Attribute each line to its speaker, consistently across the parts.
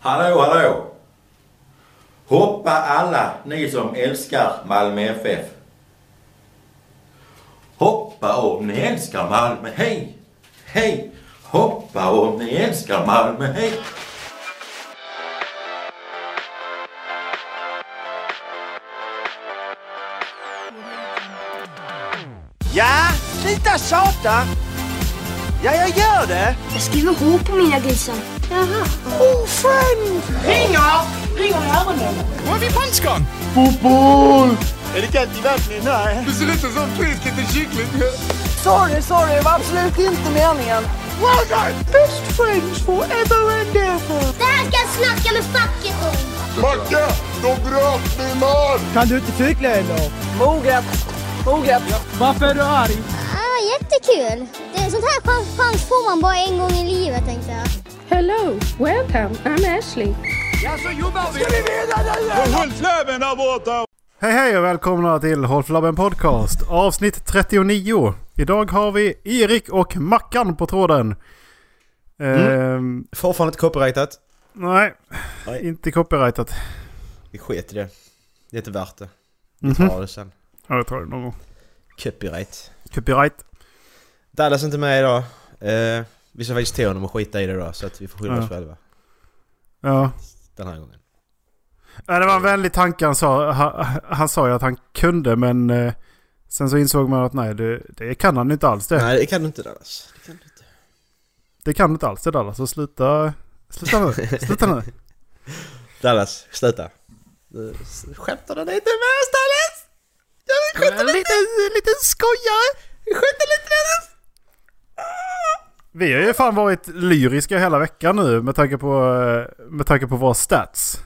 Speaker 1: Hallå, hallå! Hoppa alla ni som älskar Malmö FF. Hoppa om ni älskar Malmö, hej! Hej! Hoppa om ni älskar Malmö, hej!
Speaker 2: Ja, sluta tjata! Ja, jag gör det!
Speaker 3: Jag skriver H på mina grisar. Jaha.
Speaker 2: Ofriend!
Speaker 4: Ringer! Ringer i öronen.
Speaker 5: Var är vi punchgång?
Speaker 2: Är det kallt i vattnet? Nej.
Speaker 5: Du ser ut som frisk liten kyckling.
Speaker 6: Sorry, sorry, det var absolut inte meningen.
Speaker 2: Well done! Best friends forever and ever!
Speaker 7: Det här ska jag snacka med facket om.
Speaker 8: Macke, de bröt min man!
Speaker 9: Kan du inte cykla eller?
Speaker 6: Moget. Moget.
Speaker 9: Varför är du arg?
Speaker 7: Ah, jättekul. Det, sånt här chans, chans får man bara en gång i livet tänkte jag.
Speaker 10: Hello, welcome, I'm Ashley.
Speaker 2: Ja, så jobbar vi! Ska vi vinna nu?
Speaker 8: Hundfläven där borta!
Speaker 11: Hej hej och välkomna till Holflabben Podcast avsnitt 39. Idag har vi Erik och Mackan på tråden.
Speaker 12: Mm.
Speaker 11: Ehm,
Speaker 12: Fortfarande inte copyrightat.
Speaker 11: nej,
Speaker 12: Nej.
Speaker 11: inte copyrightat.
Speaker 12: Vi sket i det. Det är inte värt det. Vi
Speaker 11: Mhm.
Speaker 12: tar det sen.
Speaker 11: Ja, jag tar det någon gång.
Speaker 12: Copyright.
Speaker 11: Copyright.
Speaker 12: Dallas är inte med idag. Eh, vi sa faktiskt till honom att skita i det då, så att vi får skylla oss
Speaker 11: Ja.
Speaker 12: själva.
Speaker 11: Ja.
Speaker 12: Den här gången.
Speaker 11: ja, det var en vänlig tanke han sa. Han, han sa ju att han kunde men eh, sen så insåg man att nej det, det kan han inte alls det.
Speaker 12: Nej, det kan du inte Dallas. Det kan du inte.
Speaker 11: Det kan inte alls det där. Så sluta, sluta nu. Sluta nu.
Speaker 12: Dallas, sluta. Du s- Skämtar du lite med oss Dallas? Jag vill skämta lite!
Speaker 11: lite skojare.
Speaker 12: Skämta lite Dallas!
Speaker 11: Vi har ju fan varit lyriska hela veckan nu med tanke på, eh, med tanke på våra stats.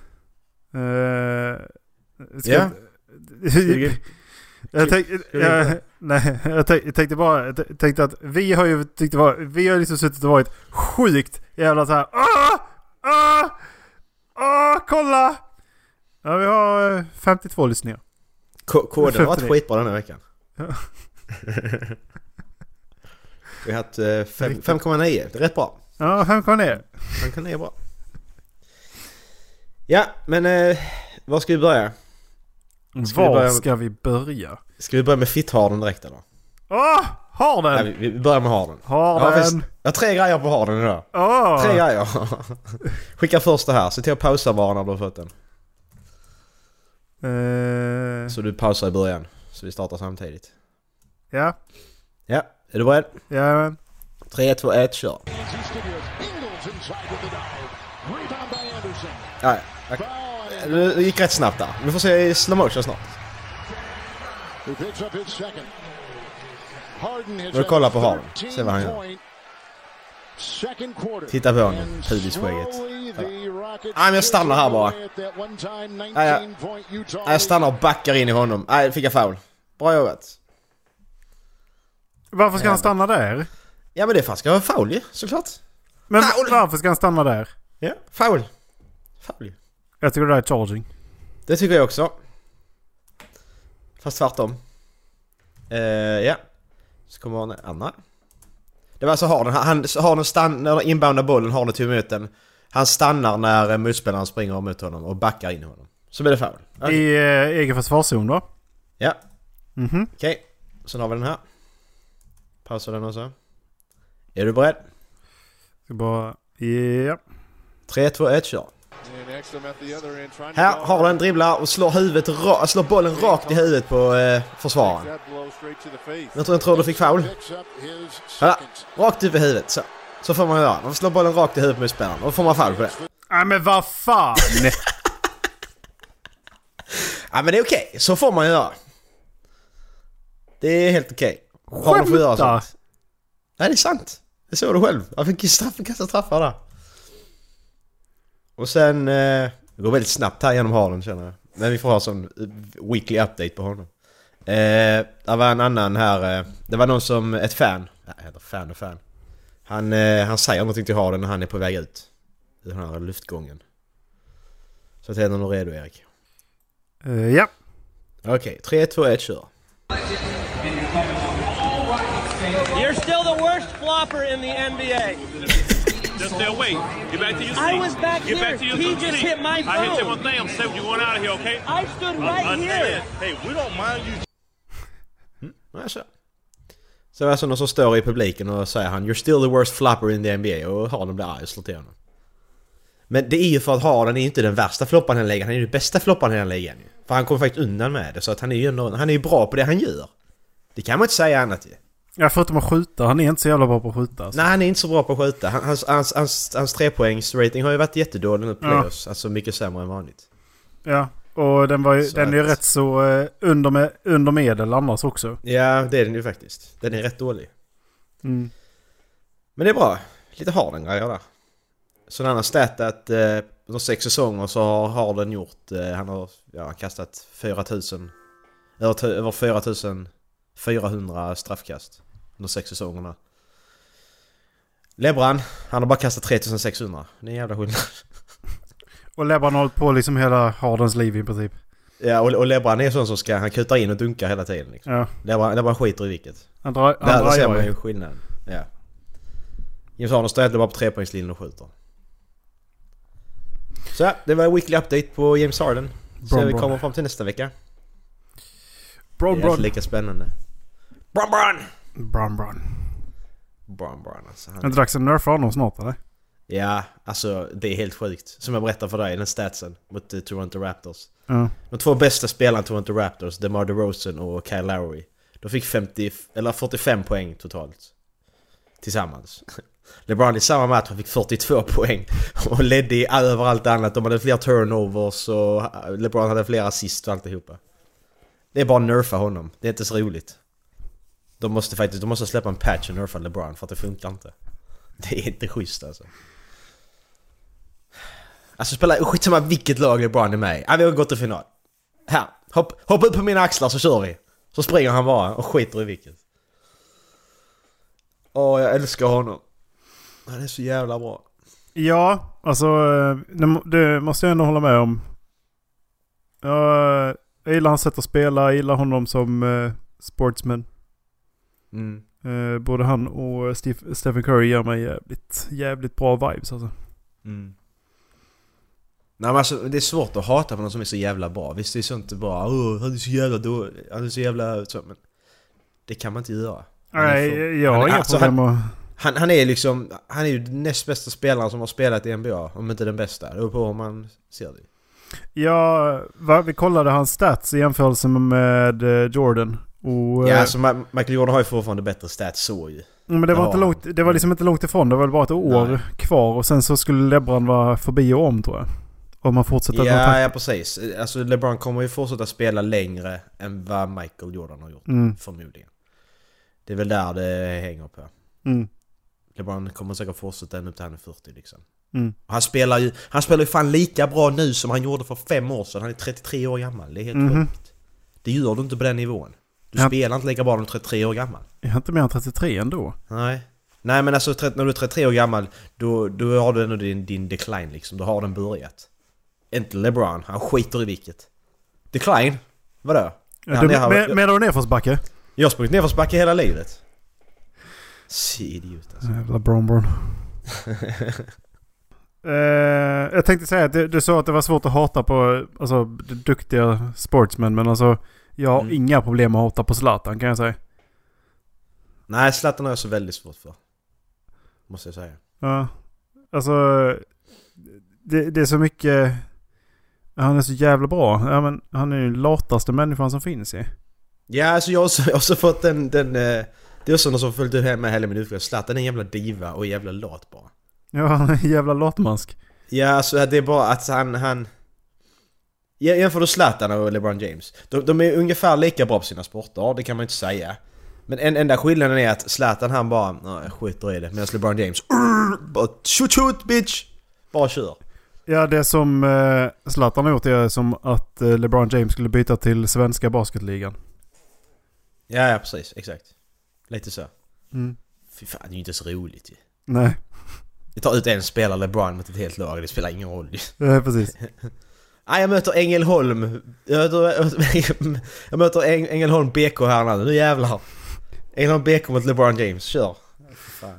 Speaker 11: Eh, ska
Speaker 12: Ja.
Speaker 11: jag, jag, tänk,
Speaker 12: vi
Speaker 11: jag, nej, jag, tänk, jag tänkte bara jag t- tänkte att vi har ju tyckt det var, vi har liksom suttit och varit sjukt jävla så här. Ah, ah, ah, kolla! Ja, vi har eh, 52 lyssningar.
Speaker 12: Ko- Koden har varit
Speaker 11: 59.
Speaker 12: skitbra den här veckan.
Speaker 11: Ja.
Speaker 12: Vi har haft eh, fem- 5,9. Det är rätt bra.
Speaker 11: Ja,
Speaker 12: Mm.
Speaker 11: 5,9.
Speaker 12: Man kan leva bra. Ja, men eh, var ska vi börja? Ska vi
Speaker 11: Var
Speaker 12: börja-
Speaker 11: ska vi börja?
Speaker 12: Ska vi börja med fittharden direkt eller?
Speaker 11: Ah, har
Speaker 12: Nej,
Speaker 11: den!
Speaker 12: vi, vi börjar med harden.
Speaker 11: Har
Speaker 12: Jag har,
Speaker 11: den!
Speaker 12: faktiskt- jag har tre grejer på harden idag.
Speaker 11: Ah.
Speaker 12: Tre grejer. Skicka första här, se till att pausa bara när du har fått den.
Speaker 11: Eh,
Speaker 12: Så du pausar i början, så vi startar samtidigt.
Speaker 11: ja,
Speaker 12: Ja, är du beredd?
Speaker 11: ja,
Speaker 12: 3, 2, 1, kör. Ja, ja. Det det gick rätt snabbt där. Vi får se i slow motion snart.
Speaker 8: Nu kollar på Harden. Se vad han gör. Titta på honom. Pudiskägget. Ja. Ah, men jag stannar här bara. Ah, ja.
Speaker 12: Nej, Äh, jag stannar och backar in i honom. Nej, fick jag foul. Bra jobbat.
Speaker 11: Varför ska han stanna där?
Speaker 12: Ja men det är fan ska jag ha foul ju, såklart.
Speaker 11: Men
Speaker 12: Nej, och-
Speaker 11: varför ska han stanna där?
Speaker 12: Ja, foul. Foul ju.
Speaker 11: Jag tycker det där är charging.
Speaker 12: Det tycker jag också. Fast tvärtom. Eh, ja. Så kommer han... Anna. Det var alltså Harden. Han, han Harden stann... När han inboundar bollen, Harden tog emot den. Han stannar när eh, motspelaren springer mot honom och backar in i honom. Så blir det foul. Okej.
Speaker 11: I eh, egen försvarszon då?
Speaker 12: Ja.
Speaker 11: Mhm.
Speaker 12: Okej. Sen har vi den här. Pausa den också. Är du beredd?
Speaker 11: Ska bara... Ja.
Speaker 12: 3, 2, 1, kör. Här har den dribblar och slår, huvudet ra- slår bollen rakt i huvudet på eh, försvararen. Jag tror, jag tror du fick foul. Ja, rakt upp i huvudet så. Så får man göra. Man slår bollen rakt i huvudet på spelaren. Då får man foul på det.
Speaker 11: Nej men vad fan!
Speaker 12: Ja men det är okej. Så får man göra. Det är helt okej. Har du får göra
Speaker 11: Skämtar.
Speaker 12: sånt. Nej det är sant. Det såg du själv. Han fick ju straff, kasta straffar där. Och sen... Eh, det går väldigt snabbt här genom Harlem känner jag. Men vi får ha sån eh, weekly update på honom. Eh, det var en annan här. Eh, det var någon som... Ett fan. Nej, jag heter fan och fan. Han, eh, han säger någonting till Harden när han är på väg ut. I den här luftgången. Så att är du redo Erik?
Speaker 11: Eh, ja.
Speaker 12: Okej, 3, 2, 1, kör.
Speaker 2: You're still the worst flopper in the NBA.
Speaker 13: just stay away. Get back to your seat.
Speaker 9: I was back
Speaker 13: Get back to your
Speaker 9: here. He
Speaker 13: seat.
Speaker 9: just hit my
Speaker 13: I hit
Speaker 9: phone.
Speaker 13: him on the nail. Said you're going out of here, okay?
Speaker 9: I stood right
Speaker 13: Un-
Speaker 9: here.
Speaker 13: Hey, we don't mind you.
Speaker 12: Alltså. Så det är alltså någon som står i publiken och säger han “You're still the worst flopper in the NBA” och Harden blir arg och slår till honom. Men det är ju för att Harden är inte den värsta flopparen i den ligan, han är ju den bästa flopparen i den ligan. ju. För han kommer faktiskt undan med det, så att han är ju ändå, han är ju bra på det han gör. Det kan man inte säga annat ju.
Speaker 11: Ja, förutom att skjuta. Han är inte så jävla bra på att skjuta. Alltså.
Speaker 12: Nej, han är inte så bra på att skjuta. Han- Hans, hans, hans, hans trepoängsrating har ju varit jättedålig nu på
Speaker 11: Ja.
Speaker 12: playoffs, alltså mycket sämre än vanligt.
Speaker 11: Ja, och den, var ju,
Speaker 12: Så
Speaker 11: den är ju
Speaker 12: att-
Speaker 11: rätt så eh, under, med, under medel annars också.
Speaker 12: Ja, det är den ju faktiskt. Den är rätt dålig.
Speaker 11: Mm.
Speaker 12: Men det är bra. Lite Harden grejer där. Så en annan stat att eh, under sex säsonger så har Harden gjort, eh, han har ja, kastat 4000, över, tu- över 4400 straffkast under sex säsongerna. LeBron, han har bara kastat 3600. Det är en jävla skillnad.
Speaker 11: Och Lebban har hållit på liksom hela Hardens liv i princip.
Speaker 12: Ja, och, och LeBron är sån som ska, han kutar in och dunkar hela tiden. Liksom.
Speaker 11: Ja.
Speaker 12: LeBron, LeBron skiter i vilket.
Speaker 11: Han drar- han
Speaker 12: där, där
Speaker 11: drar
Speaker 12: ser
Speaker 11: ju.
Speaker 12: man ju skillnaden. Ja. James Harden står egentligen bara på trepoängslinjen och skjuter. Så ja, det var Weekly Update på James Harden. Så
Speaker 11: Bron,
Speaker 12: vi
Speaker 11: bron.
Speaker 12: kommer fram till nästa vecka.
Speaker 11: Bron,
Speaker 12: det är
Speaker 11: bron.
Speaker 12: inte lika spännande. Bron Bron!
Speaker 11: Bron, bron.
Speaker 12: Bron Bron alltså.
Speaker 11: Är
Speaker 12: Han...
Speaker 11: inte dags att nerfa honom snart eller?
Speaker 12: Ja, alltså det är helt sjukt. Som jag berättade för dig, den statsen mot eh, Toronto Raptors.
Speaker 11: Ja.
Speaker 12: De två bästa spelarna i Toronto Raptors, DeMar DeRozan och Kyle Lowry. De fick 50, eller 45 poäng totalt. Tillsammans. LeBron i samma match han fick 42 poäng och ledde i all- över allt annat. De hade fler turnovers och eh, LeBron hade fler assist och alltihopa. Det är bara att nerfa honom. Det är inte så roligt. De måste faktiskt de måste släppa en patch och nerfa LeBron för att det funkar inte. Det är inte schysst alltså. Alltså spela skitsamma vilket lag LeBron är med i. Ja, vi har gått till final. Här, hopp, hoppa upp på mina axlar så kör vi. Så springer han bara och skiter i vilket. Åh, jag älskar honom. Han är så jävla bra.
Speaker 11: Ja, alltså eh, det, må- det måste jag ändå hålla med om. Jag, eh, jag gillar hans sätt att spela, jag gillar honom som eh, sportsman.
Speaker 12: Mm.
Speaker 11: Eh, både han och Steve, Stephen Curry ger mig jävligt, jävligt bra vibes alltså.
Speaker 12: mm. Nej men alltså det är svårt att hata på någon som är så jävla bra. Visst det är sånt bara åh han är så jävla då, han är så jävla så, men det kan man inte göra. Han är
Speaker 11: Nej,
Speaker 12: för-
Speaker 11: jag har
Speaker 12: han är-
Speaker 11: inga problem
Speaker 12: han,
Speaker 11: att-
Speaker 12: han, han är liksom, han är ju den näst bästa spelaren som har spelat i NBA, om inte den bästa. Det beror på hur man ser det.
Speaker 11: Ja, va, vi kollade hans stats i jämförelse med eh, Jordan.
Speaker 12: Ja,
Speaker 11: Och, eh,
Speaker 12: alltså Ma- Michael Jordan har ju fortfarande bättre stats så ju.
Speaker 11: men det
Speaker 12: Det
Speaker 11: var,
Speaker 12: har
Speaker 11: inte
Speaker 12: han.
Speaker 11: långt, det var liksom inte långt ifrån. Det var väl bara ett år
Speaker 12: Nej.
Speaker 11: kvar och sen så skulle Lebron vara förbi och om tror jag. Om man fortsätter att
Speaker 12: Ja,
Speaker 11: attack-
Speaker 12: ja precis. Alltså LeBron kommer ju fortsätta spela längre än vad Michael Jordan har gjort.
Speaker 11: Mm.
Speaker 12: Förmodligen. Det är väl där det hänger på.
Speaker 11: Mm.
Speaker 12: LeBron kommer säkert fortsätta ända upp till han är 40 liksom.
Speaker 11: Mm.
Speaker 12: Och Han spelar, ju, han spelar ju fan lika bra nu som han gjorde för fem år sedan. Han är 33 år gammal. Det är helt
Speaker 11: Mhm.
Speaker 12: sjukt. Det gör du inte på den nivån. Du
Speaker 11: Ja.
Speaker 12: spelar inte lika bra när du är 33 år gammal.
Speaker 11: Är han inte mer än 33 ändå?
Speaker 12: Nej. Nej men alltså tre- när du är 33 år gammal då, då har du ändå din, din decline liksom. Då har den börjat. Inte LeBron, han skiter i vilket. Decline? Vadå?
Speaker 11: Ja, du,
Speaker 12: det har-
Speaker 11: men, menar du nedförsbacke?
Speaker 12: Jag har sprungit nedförsbacke hela livet. Se idiot alltså.
Speaker 11: Jävla Bromborn. Eh, jag tänkte säga att du, du sa att det var svårt att hata på alltså, d- duktiga sportsmän. Men alltså jag har inga problem att hata på Zlatan kan jag säga.
Speaker 12: Nej, Zlatan har jag så väldigt svårt för. Måste jag säga.
Speaker 11: Ja. Alltså det, det är så mycket... Han är så jävla bra. Ja, men han är ju den lataste människan som finns ju.
Speaker 12: Ja, alltså jag har också, jag har också fått den... den eh, det är också någon som följt med med hela min utveckling. Zlatan är en jävla diva och en jävla lat bara.
Speaker 11: Ja, han är en jävla latmask.
Speaker 12: Ja, alltså det är bara att han... han... Ja, Jämför du Zlatan och LeBron James. De, de är ungefär lika bra på sina sporter, det kan man ju inte säga. Men en, enda skillnaden är att Zlatan han bara "Ja, jag skiter i det. Medan LeBron James "Urr", bara shoot shoot bitch! Bara kör.
Speaker 11: Ja, det som eh, Zlatan har gjort är som att eh, LeBron James skulle byta till svenska basketligan.
Speaker 12: Ja, ja precis. Exakt. Lite så.
Speaker 11: Mm.
Speaker 12: Fy fan, det är ju inte så roligt ju.
Speaker 11: Nej,
Speaker 12: Vi tar ut en spelare, LeBron, mot ett helt lag. Det spelar ingen roll ju.
Speaker 11: eh, precis.
Speaker 12: Nej, jag möter Ängelholm. Jag möter, jag möter Äng, Ängelholm BK här nu. Nu jävlar. Ängelholm BK mot LeBron James. Kör. Fan.
Speaker 11: Eh,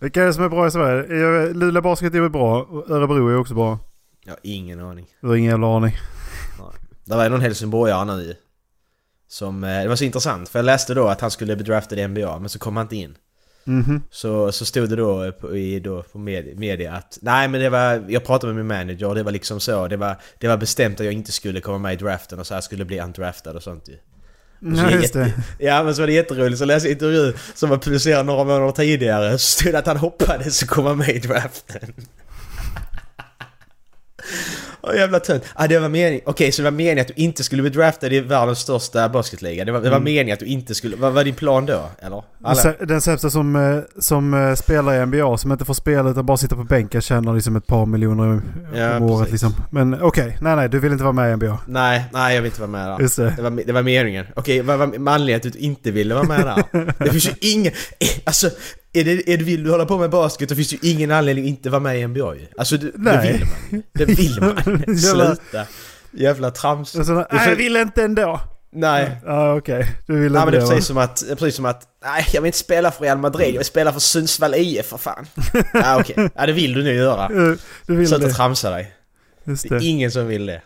Speaker 11: Vilka är det som är bra i Sverige? Är- Luleå Basket är väl bra? och Örebro är också bra.
Speaker 12: Jag har ingen aning.
Speaker 11: Du har ingen jävla aning.
Speaker 12: Det var någon helsingborgare nu i. Som, eh, det var så intressant för jag läste då att han skulle bli draftad i NBA men så kom han inte in.
Speaker 11: Mhm.
Speaker 12: Så, så stod det då på, i, då på media, media att nej men det var, jag pratade med min manager och det var liksom så, det var, det var bestämt att jag inte skulle komma med i draften och så här skulle bli undraftad och sånt ju. Och så är
Speaker 11: Ja, just
Speaker 12: jätte- Ja men så var det jätteroligt, så läste jag en intervju som var publicerad några månader tidigare så stod det att han hoppades att komma med i draften. Åh jävla tönt. Ah, det var meningen, okej så det var meningen att du inte skulle bli draftad i världens största basketliga. Det var, det var
Speaker 11: Mm.
Speaker 12: meningen att du inte skulle, vad var din plan då? Eller?
Speaker 11: Den
Speaker 12: Alla-
Speaker 11: sä- Den sämsta som, eh, som eh, spelar i NBA, som inte får spela utan bara sitter på bänken, tjänar liksom ett par miljoner
Speaker 12: Ja,
Speaker 11: om året
Speaker 12: precis.
Speaker 11: liksom. Men okej, nej nej, du vill inte vara med i NBA.
Speaker 12: Nej, nej jag vill inte vara med där.
Speaker 11: Just det.
Speaker 12: det. var, det var meningen. Okej, vad var med anledningen till att du inte ville vara med där? Det finns ju ingen... eh, Alltså, är det, är det, vill du hålla på med basket då finns det ju ingen anledning att inte vara med i NBA ju. Alltså, du, det
Speaker 11: Nej.
Speaker 12: vill man Det vill man
Speaker 11: Jävla-
Speaker 12: Sluta. Jävla trams.
Speaker 11: Och så, nej, jag vill inte ändå.
Speaker 12: Nej.
Speaker 11: Ja okej, du vill
Speaker 12: Nej
Speaker 11: inte
Speaker 12: men det är
Speaker 11: det va?
Speaker 12: precis som att, det är precis som att, nej jag vill inte spela för Real Madrid, jag vill spela för Sundsvall IF för fan. Ja okej, ja det vill du nu göra.
Speaker 11: Ja, Eh, du vill
Speaker 12: Sluta
Speaker 11: det.
Speaker 12: tramsa dig.
Speaker 11: Just
Speaker 12: Det
Speaker 11: det.
Speaker 12: är ingen som vill det.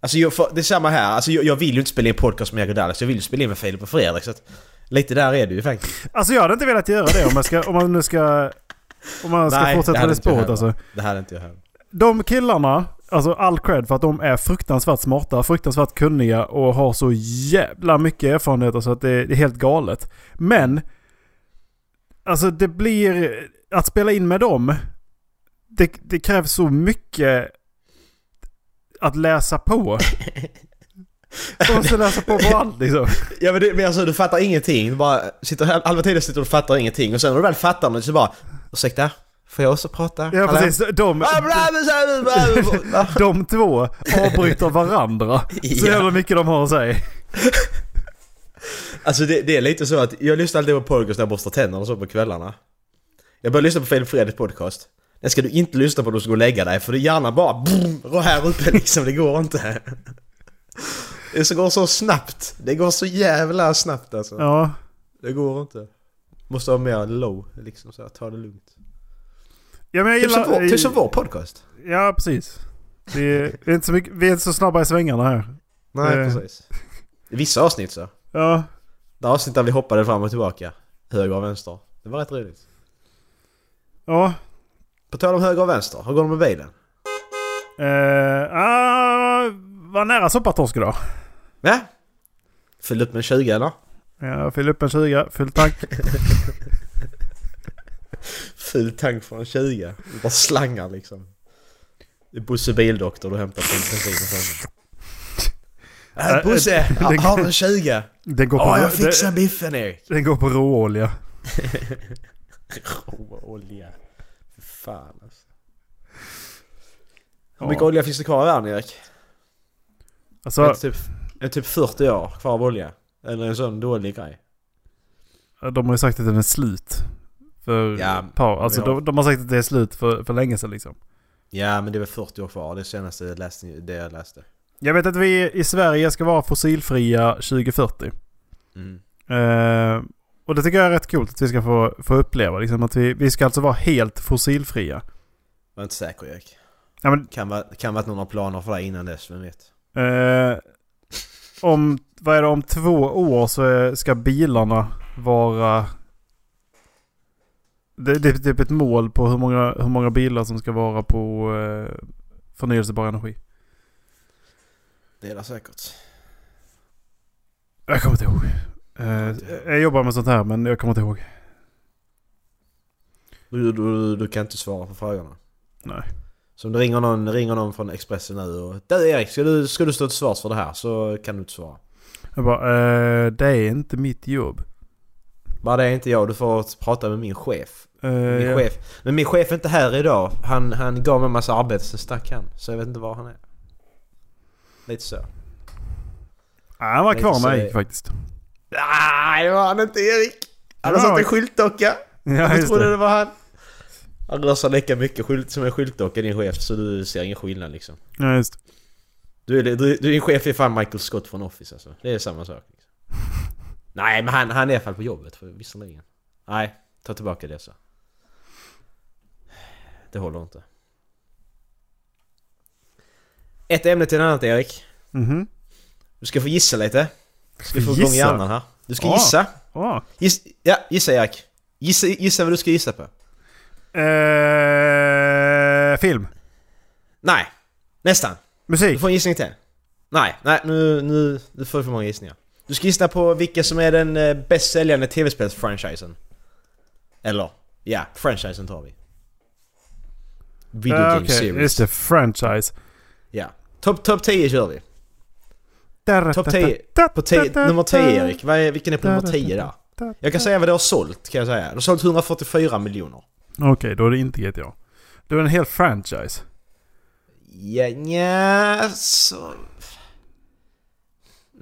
Speaker 12: Alltså jag, får- det är samma här, alltså jag, jag vill ju inte spela in podcast med Jacob Dallas, jag vill ju spela in med Filip och Fredrik så att, Lite där är du ju faktiskt.
Speaker 11: Alltså jag hade inte velat göra det om, jag ska, om man nu ska... Om man ska
Speaker 12: Nej,
Speaker 11: fortsätta
Speaker 12: det hade
Speaker 11: med
Speaker 12: inte
Speaker 11: det
Speaker 12: jag
Speaker 11: spåret
Speaker 12: heller.
Speaker 11: alltså.
Speaker 12: Det hade inte jag heller.
Speaker 11: De killarna, alltså all cred för att de är fruktansvärt smarta, fruktansvärt kunniga och har så jävla mycket erfarenheter så att det det är helt galet. Men, alltså det blir, att spela in med dem, det, det krävs så mycket att läsa på. De måste läsa på på allt liksom.
Speaker 12: Ja men, det, men alltså du fattar ingenting, du bara sitter, här- halva tiden sitter du och fattar ingenting och sen när du väl fattar något så bara Ursäkta? Får jag också prata?
Speaker 11: Ja
Speaker 12: Hallå?"
Speaker 11: precis, de, de två avbryter varandra. Så
Speaker 12: Ja.
Speaker 11: jävla mycket de har att säga.
Speaker 12: Alltså det, det är lite så att jag lyssnar alltid på podcast när jag borstar tänderna och så på kvällarna. Jag börjar lyssna på Filip Fredriks podcast. Den ska du inte lyssna på när du ska gå och lägga dig för det är hjärnan bara boom, rör här uppe liksom, det går inte. Det så går så snabbt. Det går så jävla snabbt alltså.
Speaker 11: Ja.
Speaker 12: Det går inte. Måste ha mer low liksom så här, ta det lugnt.
Speaker 11: Ja, men jag
Speaker 12: Typ som
Speaker 11: gillar-
Speaker 12: vår- typ som vår podcast.
Speaker 11: Ja, precis. Vi är, vi är, inte, så mycket, vi är inte så snabba i svängarna här.
Speaker 12: Nej,
Speaker 11: Eh,
Speaker 12: precis. I vissa avsnitt så.
Speaker 11: Ja.
Speaker 12: Det avsnitt där vi hoppade fram och tillbaka. Höger och vänster. Det var rätt roligt.
Speaker 11: Ja.
Speaker 12: På tal om höger och vänster, hur går det med bilen?
Speaker 11: Eh, ah, var nära soppatorsk idag.
Speaker 12: Ja? Fyllde upp med en 20 eller?
Speaker 11: Ja, fyll upp en 20, full tank.
Speaker 12: Full tank från 20. Bara slangar liksom. Det är Bosse bildoktor du hämtar på bensin och sånt. Äh, Bosse, har- har du en 20?
Speaker 11: Den går på,
Speaker 12: Åh, jag fixar
Speaker 11: den-
Speaker 12: biffen Erik!
Speaker 11: Den går på råolja.
Speaker 12: Råolja. Fy Fan alltså. Hur
Speaker 11: Ja.
Speaker 12: mycket olja finns det kvar i världen Erik?
Speaker 11: Alltså-
Speaker 12: Är det typ, är det typ 40 år kvar av olja? Eller en sån dålig grej?
Speaker 11: De har ju sagt att den är slut. För
Speaker 12: Ja,
Speaker 11: par. Alltså
Speaker 12: ja.
Speaker 11: de, de har sagt att det är slut för, för länge sedan liksom.
Speaker 12: Ja men det är väl 40 år kvar, det senaste jag läste, det jag läste.
Speaker 11: Jag vet att vi i Sverige ska vara fossilfria 2040.
Speaker 12: Mm.
Speaker 11: Eh, och det tycker jag är rätt coolt att vi ska få, få uppleva. Liksom, att vi, vi ska alltså vara helt fossilfria.
Speaker 12: Var inte säker Erik.
Speaker 11: Ja, men-
Speaker 12: Kan vara kan vara att någon har planer för det innan dess, vem vet?
Speaker 11: Eh, om, vad är det, om två år så är- ska bilarna vara... Det, det är typ ett mål på hur många, hur många bilar som ska vara på eh, förnyelsebar energi.
Speaker 12: Det är det säkert.
Speaker 11: Jag kommer inte ihåg. Eh, jag jobbar med sånt här men jag kommer inte ihåg.
Speaker 12: Du, du, du kan inte svara på frågorna.
Speaker 11: Nej.
Speaker 12: Så om det ringer någon, ringer någon från Expressen nu och Du Erik, ska du, ska du stå till svars för det här? Så kan du inte svara.
Speaker 11: Jag bara, eh, det är inte mitt jobb.
Speaker 12: Bara det är inte jag, du får prata med min chef.
Speaker 11: Eh,
Speaker 12: Min
Speaker 11: ja.
Speaker 12: chef. Men min chef är inte här idag. Han, han gav mig en massa arbete, sen stack han. Så jag vet inte var han är. Lite så.
Speaker 11: Nej, han var
Speaker 12: Lite
Speaker 11: kvar
Speaker 12: så
Speaker 11: när
Speaker 12: är-
Speaker 11: jag gick faktiskt.
Speaker 12: Nej, det var han inte Erik! Han har
Speaker 11: Ja.
Speaker 12: satt en skyltdocka.
Speaker 11: Ja,
Speaker 12: jag
Speaker 11: just
Speaker 12: trodde det.
Speaker 11: det.
Speaker 12: var han. Han rör sig lika mycket skylt som en skyltdocka din chef, så du ser ingen skillnad liksom.
Speaker 11: Ja, just det.
Speaker 12: Du, är- du, du, din chef är fan Michael Scott från Office alltså. Det är samma sak. Liksom. Nej, men han, han är i alla fall på jobbet för, visserligen. Nej, ta tillbaka det så. det håller inte. Ett ämne till ett annat Erik.
Speaker 11: Mhm.
Speaker 12: Du ska få gissa lite. Du ska få
Speaker 11: Gissa?
Speaker 12: igång hjärnan här. Du ska
Speaker 11: Ah.
Speaker 12: gissa.
Speaker 11: Ah.
Speaker 12: Giss, ja, gissa Erik. Gissa, gissa vad du ska gissa på.
Speaker 11: Eh, film.
Speaker 12: Nej, nästan.
Speaker 11: Musik.
Speaker 12: Du får en gissning till. Nej, nej nu, nu, nu får du för många gissningar. Du ska gissa på vilka som är den eh, bäst säljande tv-spelsfranchisen. Eller, ja, franchisen tar vi. Video
Speaker 11: Ja,
Speaker 12: Game
Speaker 11: Ah, okej,
Speaker 12: Series.
Speaker 11: Just det, franchise.
Speaker 12: Ja. Topp top 10 kör vi.
Speaker 11: Där,
Speaker 12: Topp 10. På 10 nummer 10 Erik, Vad är, vilken är på nummer 10 där? Jag kan säga vad det har sålt, kan jag säga. Det har sålt 144 miljoner.
Speaker 11: Okej, då är det inte GTA. Du är en hel franchise.
Speaker 12: Ja, nja, så...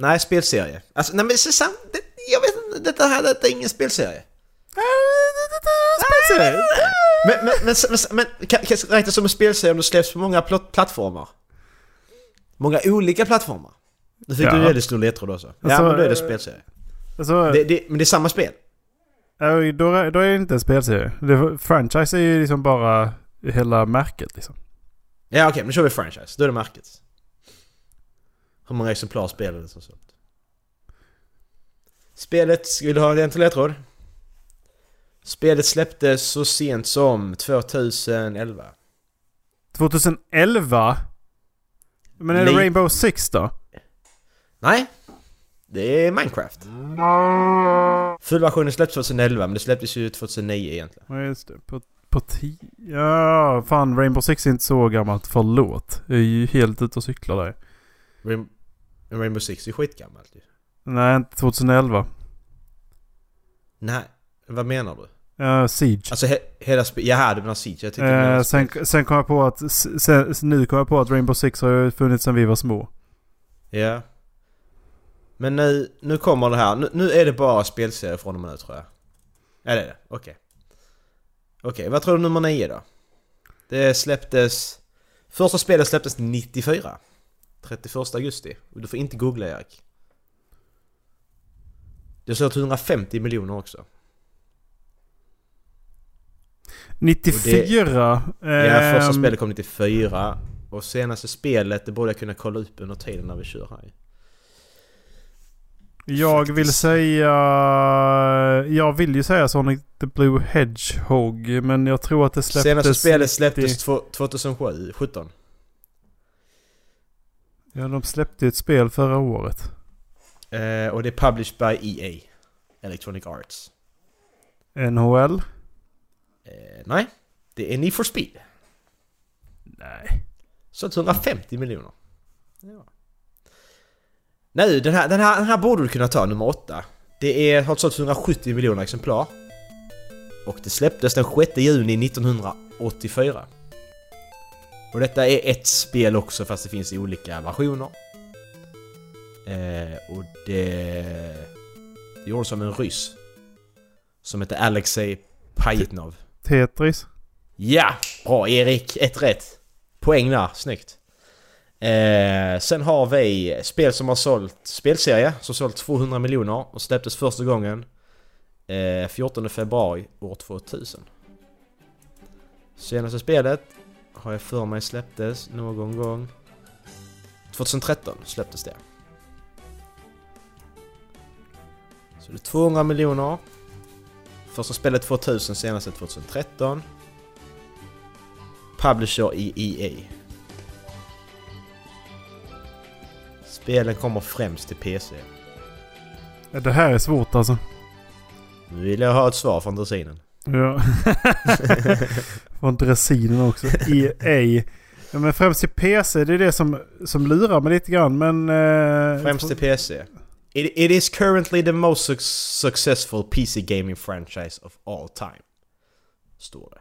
Speaker 12: Nej, spelserie. Alltså, nej men så sant, det, jag vet inte, detta här detta är ingen spelserie.
Speaker 11: Spelserie?
Speaker 12: Men, men, men, men, men kan, kan jag räknas som en spelserie om det släpps på många pl- plattformar? Många olika plattformar? Nu fick
Speaker 11: Ja.
Speaker 12: du en väldigt stor ledtråd också. Ja,
Speaker 11: Alltså,
Speaker 12: men då är det
Speaker 11: eh,
Speaker 12: spelserie.
Speaker 11: Alltså,
Speaker 12: Det, det, men det är samma spel.
Speaker 11: ja, då, är- då är det inte en spelserie. Det, franchise är ju liksom bara hela märket liksom.
Speaker 12: Ja okej, men nu kör vi franchise. Då är det märket. Hur många exemplar spelar det som sålt? Spelet, vill du ha en till ledtråd? Spelet släpptes så sent som 2011.
Speaker 11: 2011? Men är det
Speaker 12: Nej.
Speaker 11: Rainbow Six då?
Speaker 12: Nej, det är Minecraft. Fullversionen släpptes 2011, men det släpptes ju 2009 egentligen.
Speaker 11: Ja just det. På, på tio... Ja, fan Rainbow Six är inte så gammalt. Förlåt. Jag är ju helt ute och cyklar där.
Speaker 12: Rain- Rainbow Six är ju skitgammalt ju.
Speaker 11: Nej, inte 2011.
Speaker 12: Nej, vad menar du?
Speaker 11: Ja, Siege.
Speaker 12: Alltså he- hela spelet... Jaha, du menar Siege? Jag tyckte du
Speaker 11: Eh,
Speaker 12: menade-
Speaker 11: sen, sen kom jag på att... s- Sen, nu kom jag på att Rainbow Six har ju funnits sedan vi var små.
Speaker 12: Ja. Men nu, nu kommer det här. Nu, nu är det bara spelserier från och med nu tror jag. Ja det är det. Okej. Okej, vad tror du nummer 9 då? Det släpptes... Första spelet släpptes 94. 31 augusti. Och Du får inte googla Erik. Det har sålt 150 miljoner också.
Speaker 11: 94?
Speaker 12: ja, första
Speaker 11: ehm,
Speaker 12: spelet kom 94. Och senaste spelet, det borde jag kunna kolla upp under tiden när vi kör här ju.
Speaker 11: Jag vill säga... Jag vill ju säga Sonic the Blue Hedgehog. Men jag tror att det släpptes...
Speaker 12: Senaste spelet
Speaker 11: 90
Speaker 12: släpptes två- 2007, 17.
Speaker 11: Ja, de släppte ju ett spel förra året.
Speaker 12: Eh, och det är published by EA. Electronic Arts.
Speaker 11: NHL?
Speaker 12: Eh, nej, det är Need for Speed.
Speaker 11: Nej.
Speaker 12: Så 150 miljoner. Ja. Nej, den här, den, här, den här borde du kunna ta, nummer 8. Det är, har sålt 170 miljoner exemplar. Och det släpptes den 6 juni 1984. Och detta är ett spel också fast det finns i olika versioner. Eh, och det... Det gjordes av en ryss. Som heter Alexej Pajitnov.
Speaker 11: Tetris?
Speaker 12: Ja! Bra Erik, ett rätt. Poäng där, snyggt. Eh, sen har vi spel som har sålt, spelserie som sålt 200 miljoner och släpptes första gången eh, 14 februari år 2000. Senaste spelet har jag för mig släpptes någon gång 2013 släpptes det. Så det är 200 miljoner. Första spelet 2000, senaste 2013. Publisher i E EA. Spelen kommer främst till PC.
Speaker 11: Ja, Det här är svårt alltså.
Speaker 12: Nu vill jag ha ett svar från dressinen.
Speaker 11: Ja. Från dressinen också. EA. Ja, men främst till PC, det är det som, som lurar mig lite grann. Men... Eh,
Speaker 12: Främst till PC. It, it is currently the most suc- successful PC gaming franchise of all time. Står det.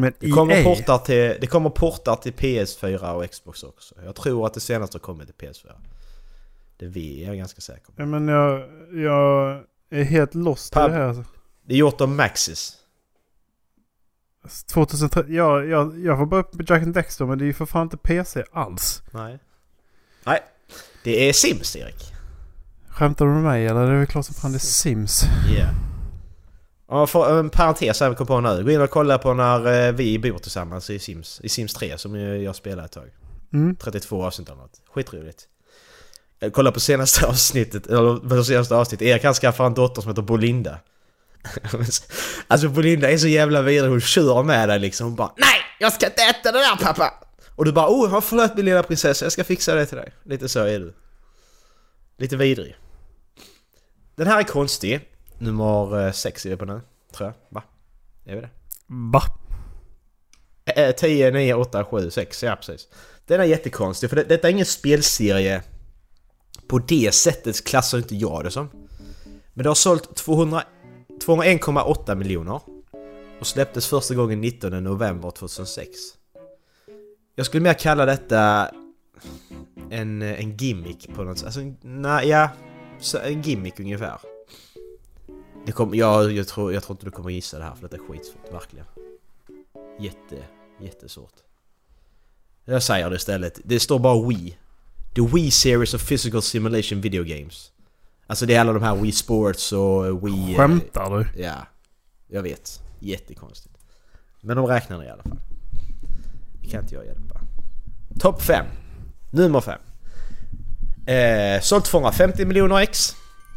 Speaker 11: Men E
Speaker 12: Det kommer,
Speaker 11: EA?
Speaker 12: portar till, det kommer portar till PS4 och Xbox också. Jag tror att det senaste har kommit till PS4. Det vi, jag är ganska säker på.
Speaker 11: Ja, men jag, jag är helt lost i
Speaker 12: Pub-
Speaker 11: det här. Alltså.
Speaker 12: Det är gjort av Maxis.
Speaker 11: 2003, ja, jag, jag får bara upp med Jack and Dexter men det är ju för fan inte PC alls.
Speaker 12: Nej. Nej. Det är Sims, Erik.
Speaker 11: Skämtar du med mig eller? Det är väl klart som fan det är Sims.
Speaker 12: Yeah. Ja, för, eh, en parentes här vi kom på nu. Gå in och kolla på när eh, vi bor tillsammans i Sims, i Sims 3 som ju jag spelade ett tag.
Speaker 11: Mm.
Speaker 12: 32 avsnitt eller något. Skitroligt. Eh, Kolla på senaste avsnittet, eller på senaste avsnittet. Erik han skaffar en dotter som heter Bolinda. alltså Bolinda är så jävla vidrig, hon kör med dig liksom. Hon bara NEJ! Jag ska inte äta det där pappa! Och du bara oh, har förlåt min lilla prinsessa, jag ska fixa det till dig. Lite så är du. Lite vidrig. Den här är konstig. Nummer eh, sex är vi på nu, tror jag. Va? Är vi det?
Speaker 11: Va?
Speaker 12: Eh, 10, 9, 8, 7, 6. Ja, precis. Den är jättekonstig, för det, detta är ingen spelserie. På det sättet klassar inte jag det som. Men det har sålt 200 201,8 miljoner. Och släpptes första gången 19 november 2006. Jag skulle mer kalla detta en, en gimmick på något sätt. Alltså, nej, ja. Så en gimmick ungefär. Det kom, jag, jag, tror, jag tror inte du kommer gissa det här för detta är skitsvårt, verkligen. Jätte, jättesvårt. Jag säger det istället. Det står bara Wii. The Wii Series of Physical Simulation Video Games. Alltså det är alla de här Wii Sports och Wii... eh,
Speaker 11: Skämtar du?
Speaker 12: Ja, jag vet. Jättekonstigt. Men de räknar det i alla fall. Det kan inte jag hjälpa. Topp 5. Nummer 5. Eh, sålt 250 miljoner ex.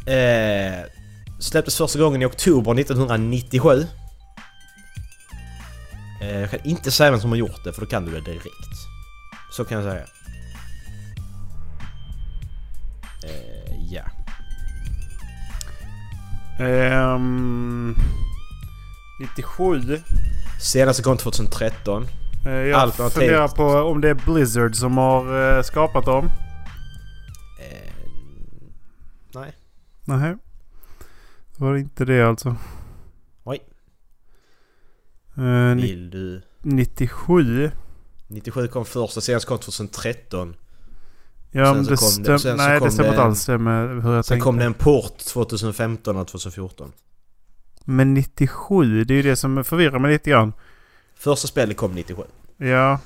Speaker 12: Eh, släpptes första gången i oktober 1997. Eh, jag kan inte säga vem som har gjort det för då kan du det direkt. Så kan jag säga. Eh, ja.
Speaker 11: Ehm... 97.
Speaker 12: Senaste kom 2013.
Speaker 11: Eh, Jag
Speaker 12: Alternativt-
Speaker 11: funderar på om det är Blizzard som har eh, skapat dem.
Speaker 12: nej.
Speaker 11: Nej. Då var det inte det alltså.
Speaker 12: Oj.
Speaker 11: Eh, ni-
Speaker 12: Vill du...
Speaker 11: 97.
Speaker 12: 97 kom första, senaste kom 2013.
Speaker 11: Ja,
Speaker 12: Sen
Speaker 11: men
Speaker 12: så
Speaker 11: det
Speaker 12: kom det-
Speaker 11: stäm-
Speaker 12: sen så
Speaker 11: Nej,
Speaker 12: kom
Speaker 11: det stämmer
Speaker 12: det
Speaker 11: inte
Speaker 12: en-
Speaker 11: alls det med hur jag
Speaker 12: Sen
Speaker 11: tänkte.
Speaker 12: kom det en port 2015 och 2014.
Speaker 11: Men 97, det är ju det som förvirrar mig lite grann.
Speaker 12: Första spelet kom 97.
Speaker 11: Ja.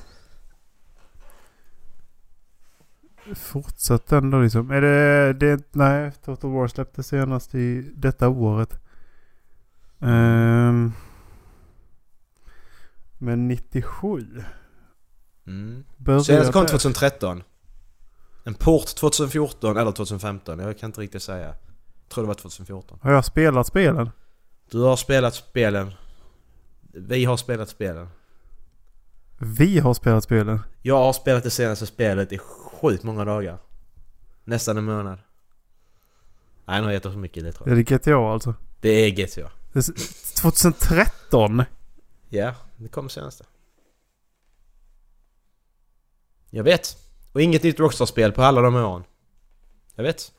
Speaker 11: Fortsatt ändå liksom. Är det, det... Nej, Total War släpptes senast i detta året. Ehm. men 97?
Speaker 12: Mm.
Speaker 11: Började
Speaker 12: Senaste kom
Speaker 11: där?
Speaker 12: 2013. En port 2014 eller 2015, jag kan inte riktigt säga. Jag tror det var 2014.
Speaker 11: Har jag spelat spelen?
Speaker 12: Du har spelat spelen. Vi har spelat spelen.
Speaker 11: Vi har spelat spelen.
Speaker 12: Jag har spelat det senaste spelet i sjukt många dagar. Nästan en månad. Nej, nu har jag gett oss för mycket i det tror
Speaker 11: Är
Speaker 12: jag.
Speaker 11: det GTA alltså?
Speaker 12: Det är GTA.
Speaker 11: Det är s- 2013?
Speaker 12: Ja, det kom senaste. Jag vet. Och inget nytt Rockstar-spel på alla de åren. Jag vet.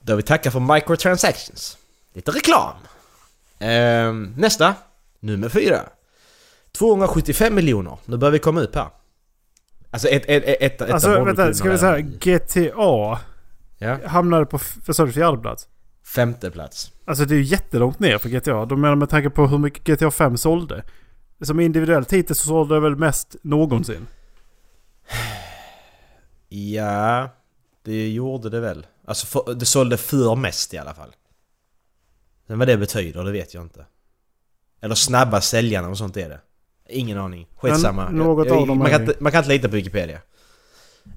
Speaker 12: Då vi tackar för microtransactions. Lite reklam! Ehm, nästa. Nummer fyra. 275 miljoner. Nu börjar vi komma upp här. Alltså ett, ett, ett, ett
Speaker 11: alltså vänta, ska vi säga GTA?
Speaker 12: Ja.
Speaker 11: Hamnade på, f- vad sa du, fjärde plats?
Speaker 12: Femte plats.
Speaker 11: Alltså det är ju jättelångt ner för GTA. De menar med tanke på hur mycket GTA 5 sålde. Som individuell titel så sålde det väl mest någonsin.
Speaker 12: Ja, det gjorde det väl. Alltså för, det sålde för mest i alla fall. Men vad det betyder, det vet jag inte. Eller snabba säljarna och sånt är det. Ingen aning. Skitsamma.
Speaker 11: Men något
Speaker 12: jag,
Speaker 11: av dem
Speaker 12: man,
Speaker 11: är
Speaker 12: kan
Speaker 11: det.
Speaker 12: inte, man kan inte lita på Wikipedia.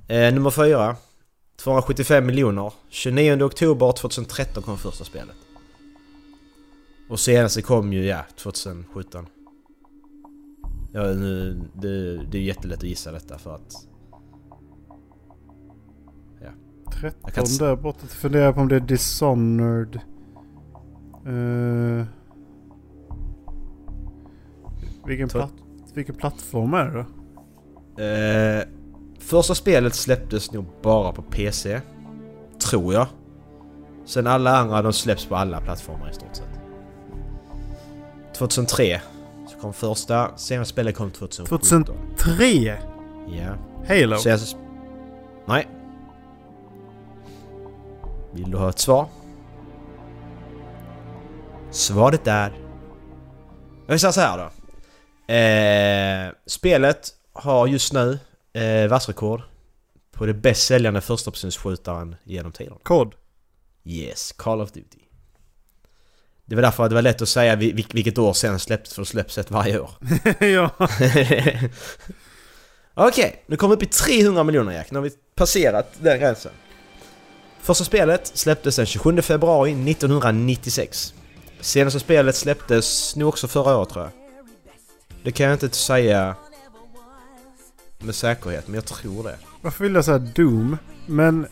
Speaker 12: Eh, nummer fyra. 275 miljoner. 29 oktober 2013 kom första spelet. Och senaste kom ju, ja, 2017. Ja, nu, det, det är jättelätt att gissa detta för att
Speaker 11: 13
Speaker 12: Jag kan inte-
Speaker 11: där borta. Jag funderar på om det är Dishonored. Eh,
Speaker 12: Tror-
Speaker 11: vilken, platt, vilken plattform är det då?
Speaker 12: Eh, första spelet släpptes nog bara på PC. Tror jag. Sen alla andra de släpps på alla plattformar i stort sett. 2003 så kom första, senaste spelet kom 2017.
Speaker 11: 2003?
Speaker 12: Ja.
Speaker 11: Halo?
Speaker 12: Senaste... sp- Nej. Vill du ha ett svar? Svaret är... Jag säger så här då. Eh, spelet har just nu eh, världsrekord på det bäst säljande förstapersonsskjutaren genom tiderna.
Speaker 11: Kod?
Speaker 12: Yes, Call of Duty. Det var därför att det var lätt att säga vil- vil- vilket år sen släpptes för det släpps ett varje år.
Speaker 11: ja.
Speaker 12: Okej, nu kommer vi upp i 300 miljoner Jack. Nu har vi passerat den gränsen. Första spelet släpptes den 27 februari 1996. Senaste spelet släpptes nog också förra året tror jag. Det kan jag inte säga med säkerhet, men jag tror det.
Speaker 11: Varför vill jag säga Doom? Men...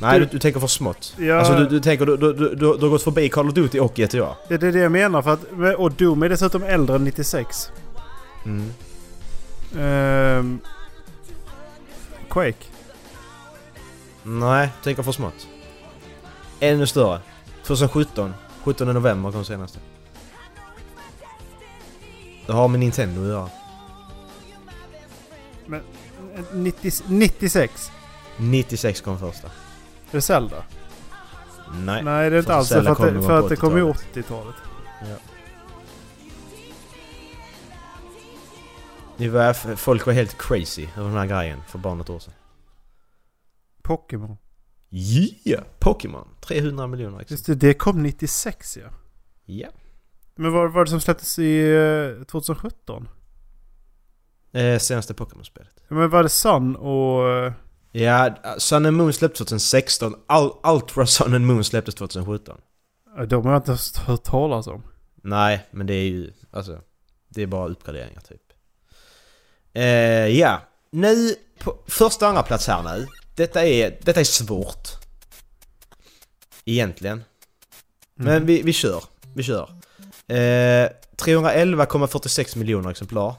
Speaker 12: Nej, du, du tänker för smått.
Speaker 11: Ja.
Speaker 12: Alltså du, du tänker, du, du, du, du har gått förbi Call of Duty och GTA.
Speaker 11: Ja, det är det jag menar. För att, och Doom är dessutom äldre än 96.
Speaker 12: Mm.
Speaker 11: Ehm, Quake.
Speaker 12: Nej, tänker för smått. Ännu större. 2017. 17 november kom senaste. Det har med Nintendo att göra.
Speaker 11: Men, eh, 90, 96?
Speaker 12: 96 kom första.
Speaker 11: Är det Zelda?
Speaker 12: Nej.
Speaker 11: Nej, det är inte alls det.
Speaker 12: Första
Speaker 11: För att
Speaker 12: kom
Speaker 11: det,
Speaker 12: på
Speaker 11: för att det kom ju
Speaker 12: 80-talet.
Speaker 11: 80-talet.
Speaker 12: Ja. Det var, f- folk var helt crazy över den här grejen för bara något år sedan.
Speaker 11: Pokémon.
Speaker 12: Yeah! Pokémon! 300 miljoner ex.
Speaker 11: Just det, det kom 96 ja.
Speaker 12: Ja.
Speaker 11: Men vad var det som släpptes i eh, 2017?
Speaker 12: Eh, senaste Pokémon-spelet.
Speaker 11: Ja, Men var det Sun och... eh,
Speaker 12: Ja, Sun and Moon släpptes 2016. Al- Ultra Sun and Moon släpptes 2017.
Speaker 11: De har jag inte ens hört talas om.
Speaker 12: Nej, men det är ju... Alltså, det är bara uppgraderingar typ. Eh, ja, nu på första och andra plats här nu. Detta är, detta är svårt. Egentligen. Men vi, vi kör. Vi kör. Eh, 311,46 miljoner exemplar.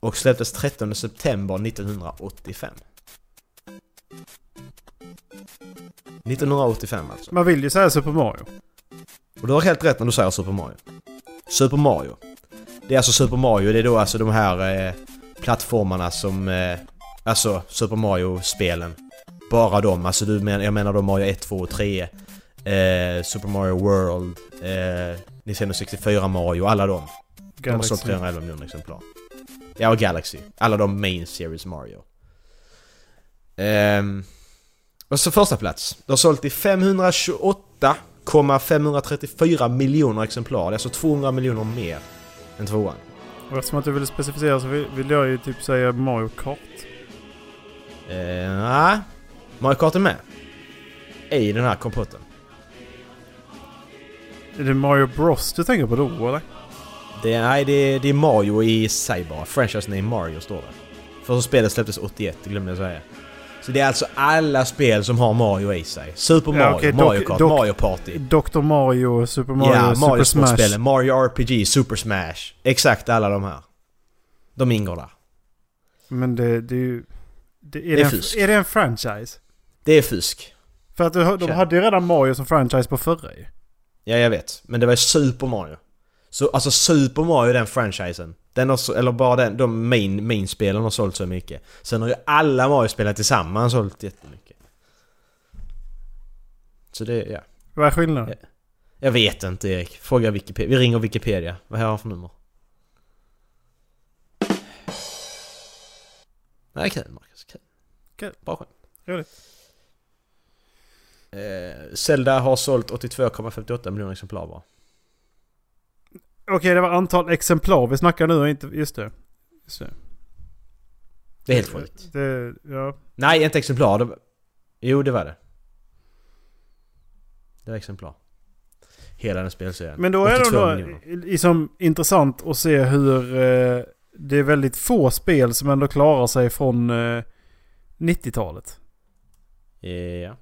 Speaker 12: Och släpptes 13 september 1985. 1985 alltså.
Speaker 11: Man vill ju säga Super Mario.
Speaker 12: Och du har helt rätt när du säger Super Mario. Super Mario. Det är alltså Super Mario, det är då alltså de här eh, plattformarna som... Eh, alltså Super Mario-spelen. Bara de, alltså du men, jag menar då Mario 1, 2 och 3. Eh, Super Mario World. Eh, Nintendo 64 Mario, alla de. De har sålt
Speaker 11: Galaxy.
Speaker 12: 311 miljoner exemplar. Ja, och Galaxy. Alla de main series Mario. Ehm, och så första plats. Det har sålt i 528,534 miljoner exemplar. Det är alltså 200 miljoner mer än tvåan.
Speaker 11: Och eftersom att du ville specificera så vill vill jag ju typ säga Mario Kart.
Speaker 12: Eh, Nej, Mario Kart är med. I den här kompotten.
Speaker 11: Är det Mario Bros du tänker på då eller?
Speaker 12: Det är, nej, det är, det är Mario i sig bara. Franchise name Mario står det. För så spelet släpptes 81, det glömde jag säga. Så det är alltså alla spel som har Mario i sig. Super Mario,
Speaker 11: okej,
Speaker 12: Mario
Speaker 11: dock-
Speaker 12: Kart,
Speaker 11: dock-
Speaker 12: Mario Party.
Speaker 11: Dr. Mario, Super Mario,
Speaker 12: ja, Mario
Speaker 11: Super Smash.
Speaker 12: sportspelen, Mario RPG, Super Smash. Exakt alla de här. De ingår där.
Speaker 11: Men det, det är ju... Det, är,
Speaker 12: Det
Speaker 11: det
Speaker 12: är
Speaker 11: en,
Speaker 12: fusk.
Speaker 11: är det en franchise?
Speaker 12: Det är fusk.
Speaker 11: För att de, de
Speaker 12: Tja.
Speaker 11: hade ju redan Mario som franchise på förra ju.
Speaker 12: Ja, jag vet. Men det var ju Super Mario. Så alltså Super Mario, den franchisen. Den har, så- eller bara den, de main, main spelen har sålt så mycket. Sen har ju alla Mario-spelare tillsammans sålt jättemycket. Så det, ja.
Speaker 11: Vad är skillnaden?
Speaker 12: Ja. Jag vet inte Erik. Fråga Wikipedia. Vi ringer Wikipedia. Vad har han för nummer? Nej, kul Marcus. Kul.
Speaker 11: Kul.
Speaker 12: Bra skämt.
Speaker 11: Roligt.
Speaker 12: Eh, Zelda har sålt 82,58 miljoner exemplar bara.
Speaker 11: Okej, det var antal exemplar vi snackar nu och inte... Just det. Just det.
Speaker 12: Det
Speaker 11: Eh,
Speaker 12: är helt sjukt.
Speaker 11: det ja.
Speaker 12: Nej, inte exemplar. Det... var- Jo, det var det. Det var exemplar. Hela den spelserien.
Speaker 11: Men då är det
Speaker 12: 82
Speaker 11: då
Speaker 12: miljoner.
Speaker 11: liksom intressant att se hur eh, det är väldigt få spel som ändå klarar sig från eh, 90-talet.
Speaker 12: Ja.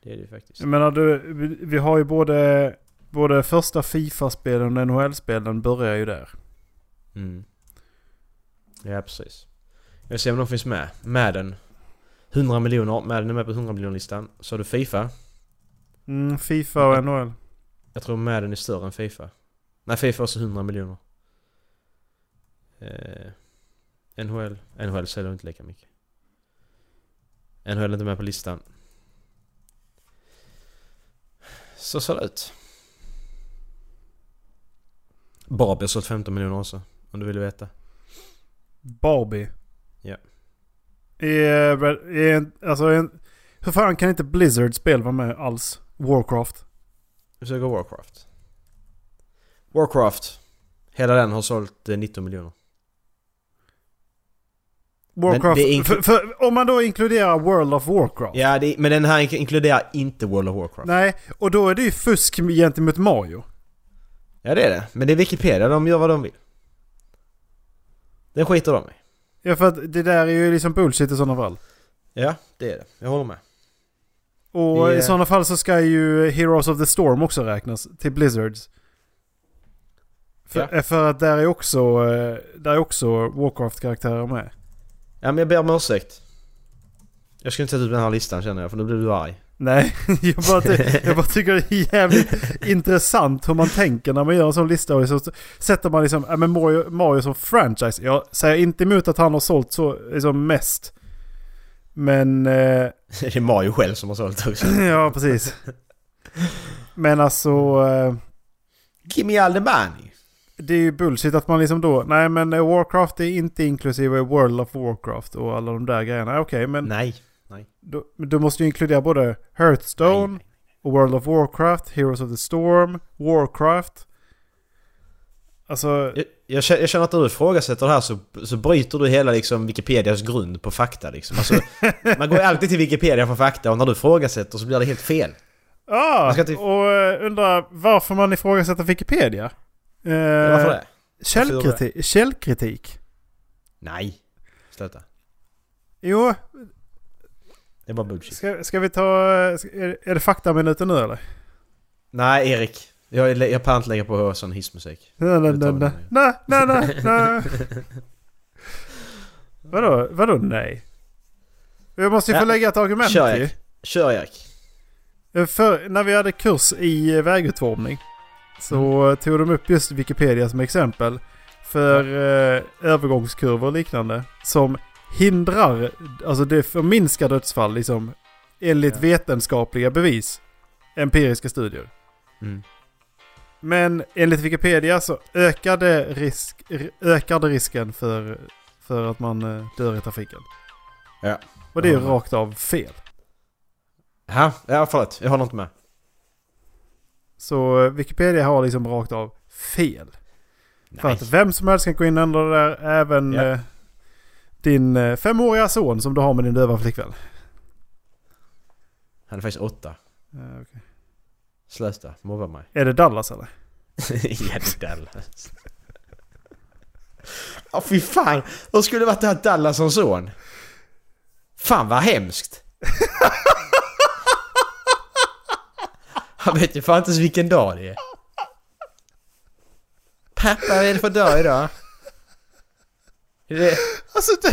Speaker 12: Det är det ju faktiskt.
Speaker 11: Jag menar, du, vi- vi har ju både, både första Fifa-spelen och NHL-spelen börjar ju där.
Speaker 12: Mm. Ja, precis. Jag ser om de finns med. Madden. 100 miljoner. Madden är med på 100 miljoner-listan. Så har du Fifa.
Speaker 11: Mm, Fifa och NHL.
Speaker 12: Jag tror Madden är större än Fifa. Nej, Fifa har också 100 miljoner. Eh, NHL. NHL säljer inte lika mycket. NHL är inte med på listan. Så ser det ut. Barbie har sålt 15 miljoner också. Om du vill veta.
Speaker 11: Barbie.
Speaker 12: Ja.
Speaker 11: Är, är, alltså, är, hur fan kan inte Blizzard spel vara med alls? Warcraft.
Speaker 12: Vi söker Warcraft. Warcraft. Hela den har sålt eh, 19 miljoner.
Speaker 11: Warcraft.
Speaker 12: Men det är inkl-
Speaker 11: för, för, om man då inkluderar World of Warcraft.
Speaker 12: Ja, det, men den här ink- inkluderar inte World of Warcraft.
Speaker 11: Nej, och då är det ju fusk gentemot Mario.
Speaker 12: Ja, det är det. Men det är Wikipedia, de gör vad de vill. Den skiter de i.
Speaker 11: Ja, för att det där är ju liksom bullshit i sådana fall.
Speaker 12: Ja, det är det. Jag håller med.
Speaker 11: Och
Speaker 12: Det är-
Speaker 11: i sådana fall så ska ju Heroes of the Storm också räknas till Blizzards. För, för att där är också, eh, där är också Warcraft-karaktärer med.
Speaker 12: Ja, men jag ber om ursäkt. Jag skulle inte sätta ut den här listan känner jag, för nu blir du arg.
Speaker 11: Nej, jag bara, ty- jag bara tycker det är jävligt intressant hur man tänker när man gör en sån lista. Och så sätter man liksom, ja men Mario, Mario som franchise. Jag säger inte emot att han har sålt så, liksom mest. Men... Eh,
Speaker 12: det är Mario själv som har sålt också.
Speaker 11: ja, precis. Men alltså... Eh,
Speaker 12: Give me all the money.
Speaker 11: Det är ju bullshit att man liksom då, nej men eh, Warcraft är inte inklusive World of Warcraft och alla de där grejerna. Okej, men...
Speaker 12: Nej, nej.
Speaker 11: Då, men du måste ju inkludera både Hearthstone, och World of Warcraft, Heroes of the Storm, Warcraft. Alltså...
Speaker 12: Jag, jag kä- jag känner att när du ifrågasätter det här så, så bryter du hela liksom Wikipedias grund på fakta liksom. Alltså, man går ju alltid till Wikipedia för fakta och när du ifrågasätter så blir det helt fel.
Speaker 11: Ja,
Speaker 12: Man ska inte-
Speaker 11: och eh, undrar varför man ifrågasätter Wikipedia. Eh,
Speaker 12: varför det? Varför
Speaker 11: Källkriti- källkritik.
Speaker 12: Nej. Sluta.
Speaker 11: Jo,
Speaker 12: Det är bara bullshit.
Speaker 11: ska, ska vi ta... eh, ska- Är, är det faktaminuten nu eller?
Speaker 12: Nej, Erik. Jag, jag kan inte lägga på sån hissmusik.
Speaker 11: Nej, nej, nej, nej. Nej, nej, nej, nej. Vadå, vadå nej? Jag måste ju få
Speaker 12: Ja.
Speaker 11: lägga ett argument
Speaker 12: Kör
Speaker 11: ju.
Speaker 12: Erik. Kör Erik.
Speaker 11: Eh, För när vi hade kurs i eh, vägutformning så
Speaker 12: Mm.
Speaker 11: eh, tog de upp just Wikipedia som exempel för eh, övergångskurvor och liknande som hindrar, alltså det förminskar dödsfall liksom enligt vetenskapliga bevis, empiriska studier.
Speaker 12: Mm.
Speaker 11: Men enligt Wikipedia så ökade, risk, r- ökade risken för, för att man eh, dör i trafiken.
Speaker 12: Ja.
Speaker 11: Och det är ju
Speaker 12: Jag håller med.
Speaker 11: rakt av fel.
Speaker 12: Ja, ja förlåt. Jag håller inte med.
Speaker 11: Så eh, Wikipedia har liksom rakt av fel. För att vem som helst kan gå in och ändra det där. Även
Speaker 12: Ja.
Speaker 11: eh, din eh, femåriga son som du har med din döva flickvän.
Speaker 12: Han är faktiskt åtta.
Speaker 11: Ja, Eh, okej.
Speaker 12: Sluta. Mobba mig.
Speaker 11: Är det Dallas eller?
Speaker 12: ja, det är Dallas. Ja, fy fan. Hur skulle det varit att ha Dallas som son? Fan vad hemskt. Han vet ju fan inte ens vilken dag det är. Pappa, vad är det för dag idag? Det...
Speaker 11: Alltså det,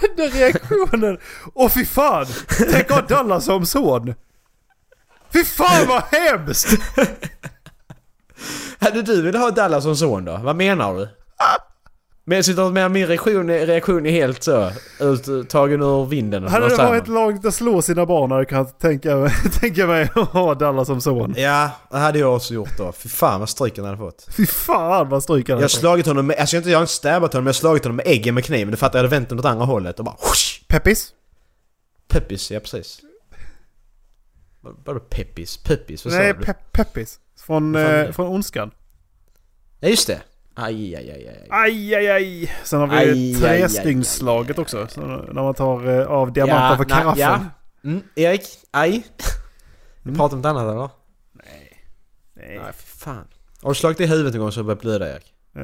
Speaker 11: den där reaktionen. Åh fy fan! Tänk ha Dallas som son! Fy fan vad hemskt!
Speaker 12: Hade du velat ha Dallas som son då? Vad menar du? Men jag sitter med min reaktion, reaktion är helt så ut, tagen ur vinden. och
Speaker 11: Hade det
Speaker 12: samman.
Speaker 11: varit lagligt att slå sina barn hade jag kunnat tänka, tänka mig att ha Dallas som son.
Speaker 12: Ja, det hade jag också gjort då. Fy fan vad stryk han hade fått.
Speaker 11: Fy fan vad stryk han
Speaker 12: Jag har slagit honom med, alltså jag har inte- jag har inte stabbat honom men jag har slagit honom med äggen med kniven. Du fattar, jag hade vänt den åt andra hållet och bara... Whoosh,
Speaker 11: Peppis?
Speaker 12: peppis, ja precis. Vad- Vadå peppis? Peppis? Vad sa
Speaker 11: Nej,
Speaker 12: du?
Speaker 11: pe- Peppis. Från,
Speaker 12: Vad fan är
Speaker 11: eh,
Speaker 12: det?
Speaker 11: från Ondskan.
Speaker 12: ja just det. Aj, aj, aj, aj.
Speaker 11: Aj, aj, aj. Sen har vi
Speaker 12: Aj,
Speaker 11: ju
Speaker 12: aj, aj,
Speaker 11: trestygnsslaget också. Så när man tar eh, av diamanten för
Speaker 12: nej,
Speaker 11: karaffen.
Speaker 12: ja. Mm, Erik, aj. Vi pratar om något annat eller?
Speaker 11: Nej.
Speaker 12: Nej, för fan. Har du slagit i huvudet en gång så har det börjat blöda Erik?
Speaker 11: Eh,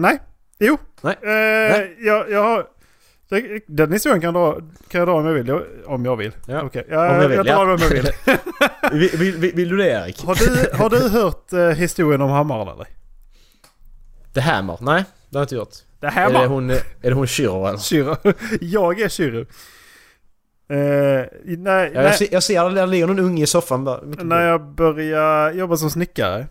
Speaker 11: nej. Jo.
Speaker 12: Nej.
Speaker 11: Eh, Jag, jag har... det- Den historien kan, dra, kan jag dra om jag vill. Jag, om jag vill.
Speaker 12: Ja.
Speaker 11: Okej.
Speaker 12: Om jag
Speaker 11: Jag,
Speaker 12: vill,
Speaker 11: jag drar
Speaker 12: ja.
Speaker 11: om jag vill.
Speaker 12: vill, vill, vill, vill du det Erik?
Speaker 11: Har du, har du hört eh, historien om hammaren eller?
Speaker 12: The Hammer? Nej, det har jag inte gjort.
Speaker 11: Det
Speaker 12: Är
Speaker 11: här
Speaker 12: det
Speaker 11: var...
Speaker 12: hon, eh, är det hon Shiro eller?
Speaker 11: Shiro. Jag är Shiro. Eh, nej,
Speaker 12: Ja,
Speaker 11: nej.
Speaker 12: jag, ser, jag ser att det ligger någon unge i soffan bara. Mycket
Speaker 11: När
Speaker 12: bra.
Speaker 11: jag började jobba som snickare.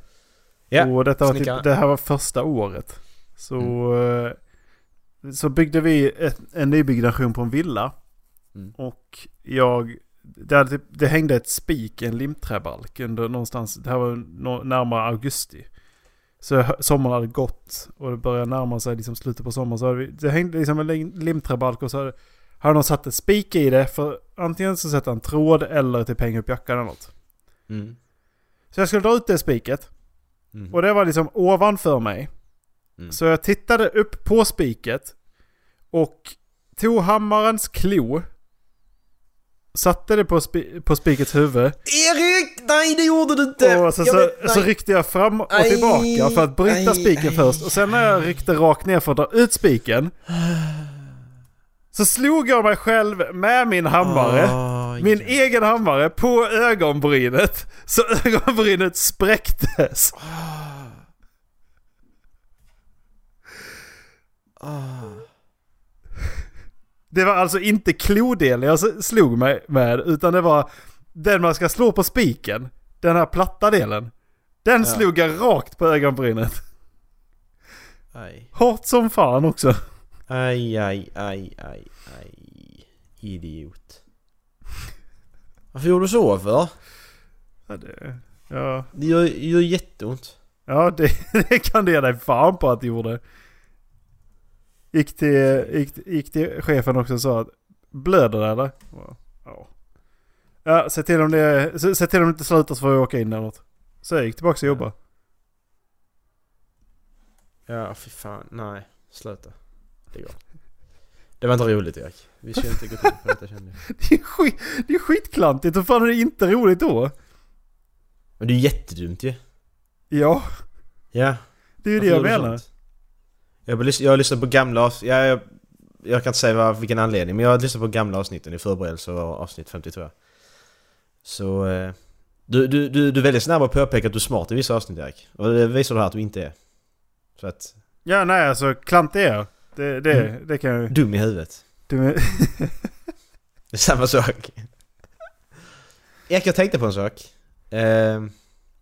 Speaker 12: Ja,
Speaker 11: och detta var typ,
Speaker 12: snickare. Mm.
Speaker 11: det här var första året. Så, eh, så byggde vi ett, en nybyggnation på en villa.
Speaker 12: Mm.
Speaker 11: Och jag... Det, hade typ, det hängde ett spik i en limträbalk under någonstans. Det här var nå- närmare augusti. Så hö- sommaren hade gått och det började närma sig liksom slutet på sommaren. Så hade vi, det hängde liksom en lim- limträbalk och så hade, hade någon satt ett spik i det. För antingen så sätter han tråd eller typ hänger upp jackan eller något.
Speaker 12: Mm.
Speaker 11: Så jag skulle dra ut det spiket. Och det var liksom ovanför mig. Så jag tittade upp på spiket. Och tog hammarens klo. Satte det på, spi- på spikets huvud.
Speaker 12: Erik! Nej det gjorde du inte!
Speaker 11: Och sen
Speaker 12: Jag
Speaker 11: så,
Speaker 12: vet-
Speaker 11: så
Speaker 12: nej.
Speaker 11: ryckte jag fram och
Speaker 12: Aj,
Speaker 11: tillbaka för att bryta
Speaker 12: aj,
Speaker 11: spiken
Speaker 12: aj.
Speaker 11: först. Och sen när jag ryckte rakt ner för att dra ut spiken. Så slog jag mig själv med min hammare.
Speaker 12: Ah.
Speaker 11: min egen hammare på ögonbrynet. Så ögonbrynet spräcktes. Ah. Det var alltså inte klodelen jag s- slog mig med, utan det var den man ska slå på spiken. Den här platta delen. Den
Speaker 12: Ja.
Speaker 11: slog jag rakt på ögonbrynet.
Speaker 12: Aj.
Speaker 11: Hårt som fan också.
Speaker 12: Aj, aj, aj, aj, aj. Idiot. Varför gjorde du så för?
Speaker 11: Ja, det, ja.
Speaker 12: Det gör, gör jätteont.
Speaker 11: Ja, det, det kan du ge dig fan på att det gjorde. Gick till, gick, gick till chefen också och sa att blöder det eller? Ja. Ja, se till om det, se, se till om det inte slutar så får jag åka in eller något. Så jag gick tillbaka och jobbade.
Speaker 12: Ja, fy fan. Nej, sluta. Det går. Det var inte roligt Erik. Vi ska inte gå till på detta kände jag.
Speaker 11: Det är, skit, det är skitklantigt, hur fan är det inte roligt då?
Speaker 12: Men det är ju jättedumt ju.
Speaker 11: Ja,
Speaker 12: Ja.
Speaker 11: det är ju det
Speaker 12: Varför
Speaker 11: jag
Speaker 12: gör du
Speaker 11: menar.
Speaker 12: sånt? Jag, har lys- jag har lyssnat på gamla avsnitt, jag, jag, jag kan inte säga vad, vilken anledning, men jag har lyssnat på gamla avsnitten i förberedelse av avsnitt 50 tror jag. Så... eh, Du, du, du, du är väldigt snabb att påpeka att du är smart i vissa avsnitt Erik. Och det visar det här att du inte är. Så att...
Speaker 11: Ja, nej alltså klantig är jag. Det,
Speaker 12: Mm.
Speaker 11: det, det kan jag ju...
Speaker 12: Dum i huvudet.
Speaker 11: Du,
Speaker 12: Det är samma sak. Erik, jag tänkte på en sak. Eh,
Speaker 11: Mhm.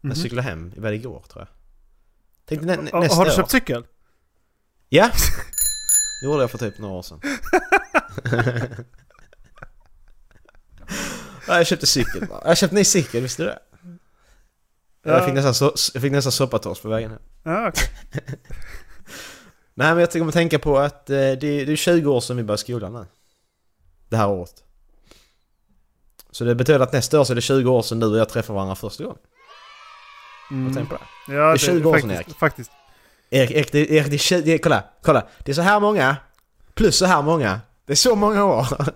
Speaker 12: Jag cyklade hem, det var igår tror jag. Tänkte nä, nä,
Speaker 11: har,
Speaker 12: nästa
Speaker 11: har du
Speaker 12: år.
Speaker 11: köpt cykel?
Speaker 12: Ja! Det gjorde jag för typ några år sedan. ja, jag köpte cykel bara. Jag köpte en ny cykel, visste du det? Jag fick nästan, so jag fick nästan soppators på vägen hem.
Speaker 11: Ja, okej.
Speaker 12: Nej men jag kommer tänka på att eh, det, det är 20 år sedan vi började skolan nu. Det här året. Så det betyder att nästa år så är det 20 år sedan du och jag träffar varandra första gången.
Speaker 11: Mm.
Speaker 12: tänk på det.
Speaker 11: Ja,
Speaker 12: Det är 20 år sedan,
Speaker 11: faktiskt,
Speaker 12: Erik.
Speaker 11: faktiskt.
Speaker 12: Erik, Erik, det, Erik det, är 20 det, kolla, kolla. Det är så här många, plus så här många. Det är så många år.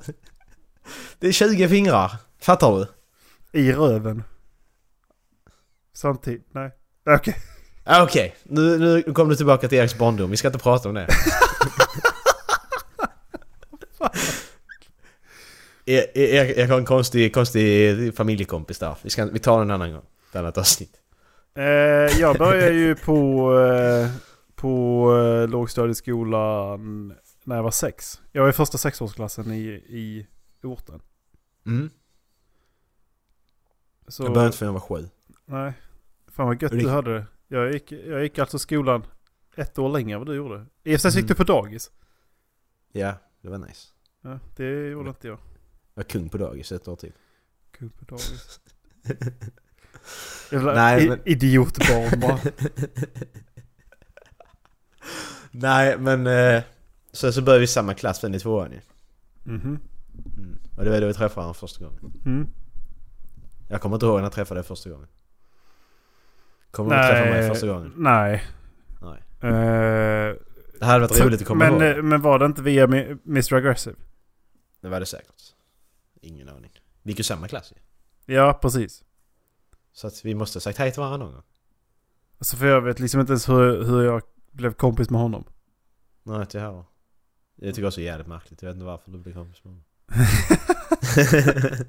Speaker 12: Det är 20 fingrar. Fattar du?
Speaker 11: I röven. Samtidigt, nej. Okej.
Speaker 12: Ah, Okej, nu, nu kom du tillbaka till Eriks barndom. Vi ska inte prata om det. E- E- Erik, Erik har en konstig, konstig familjekompis där. Vi, ska, vi tar den en annan gång. Ett annat avsnitt.
Speaker 11: Eh, jag började ju på, eh, på eh, lågstadieskolan när jag var sex. Jag var i första sexårsklassen i, i orten.
Speaker 12: Mm.
Speaker 11: Så,
Speaker 12: Jag började inte förrän jag var sju.
Speaker 11: Nej. Fan vad gött
Speaker 12: Hur gick-
Speaker 11: du hade det. Jag gick, jag gick alltså skolan ett år längre än vad du gjorde. I och för sig
Speaker 12: Mm.
Speaker 11: gick du på dagis.
Speaker 12: Ja, det var nice.
Speaker 11: Ja, det gjorde inte jag.
Speaker 12: Jag var kung på dagis ett år till.
Speaker 11: Kul på dagis. Jävla
Speaker 12: Nej,
Speaker 11: i-
Speaker 12: men-
Speaker 11: idiotbarn bara.
Speaker 12: Nej, men... Eh, sen så började vi i samma klass sen i tvåan ju.
Speaker 11: Mhm.
Speaker 12: Mm. Och det var då vi träffade honom första gången.
Speaker 11: Mm.
Speaker 12: Jag kommer inte ihåg när jag träffade dig första gången. Kommer du träffa mig första gången?
Speaker 11: Nej.
Speaker 12: Nej.
Speaker 11: Eh,
Speaker 12: Det hade varit roligt att komma
Speaker 11: men,
Speaker 12: ihåg.
Speaker 11: eh, men var det inte via Mi- Mr Aggressive?
Speaker 12: Det var det säkert. Ingen aning. Vi gick ju samma klass ju.
Speaker 11: Ja, precis.
Speaker 12: Så att vi måste ha sagt hej till varandra någon gång.
Speaker 11: Alltså för jag vet liksom inte ens hur, hur jag blev kompis med honom.
Speaker 12: Nej, inte jag heller. Det tycker jag också är jävligt märkligt. Jag vet inte varför du blev kompis med honom.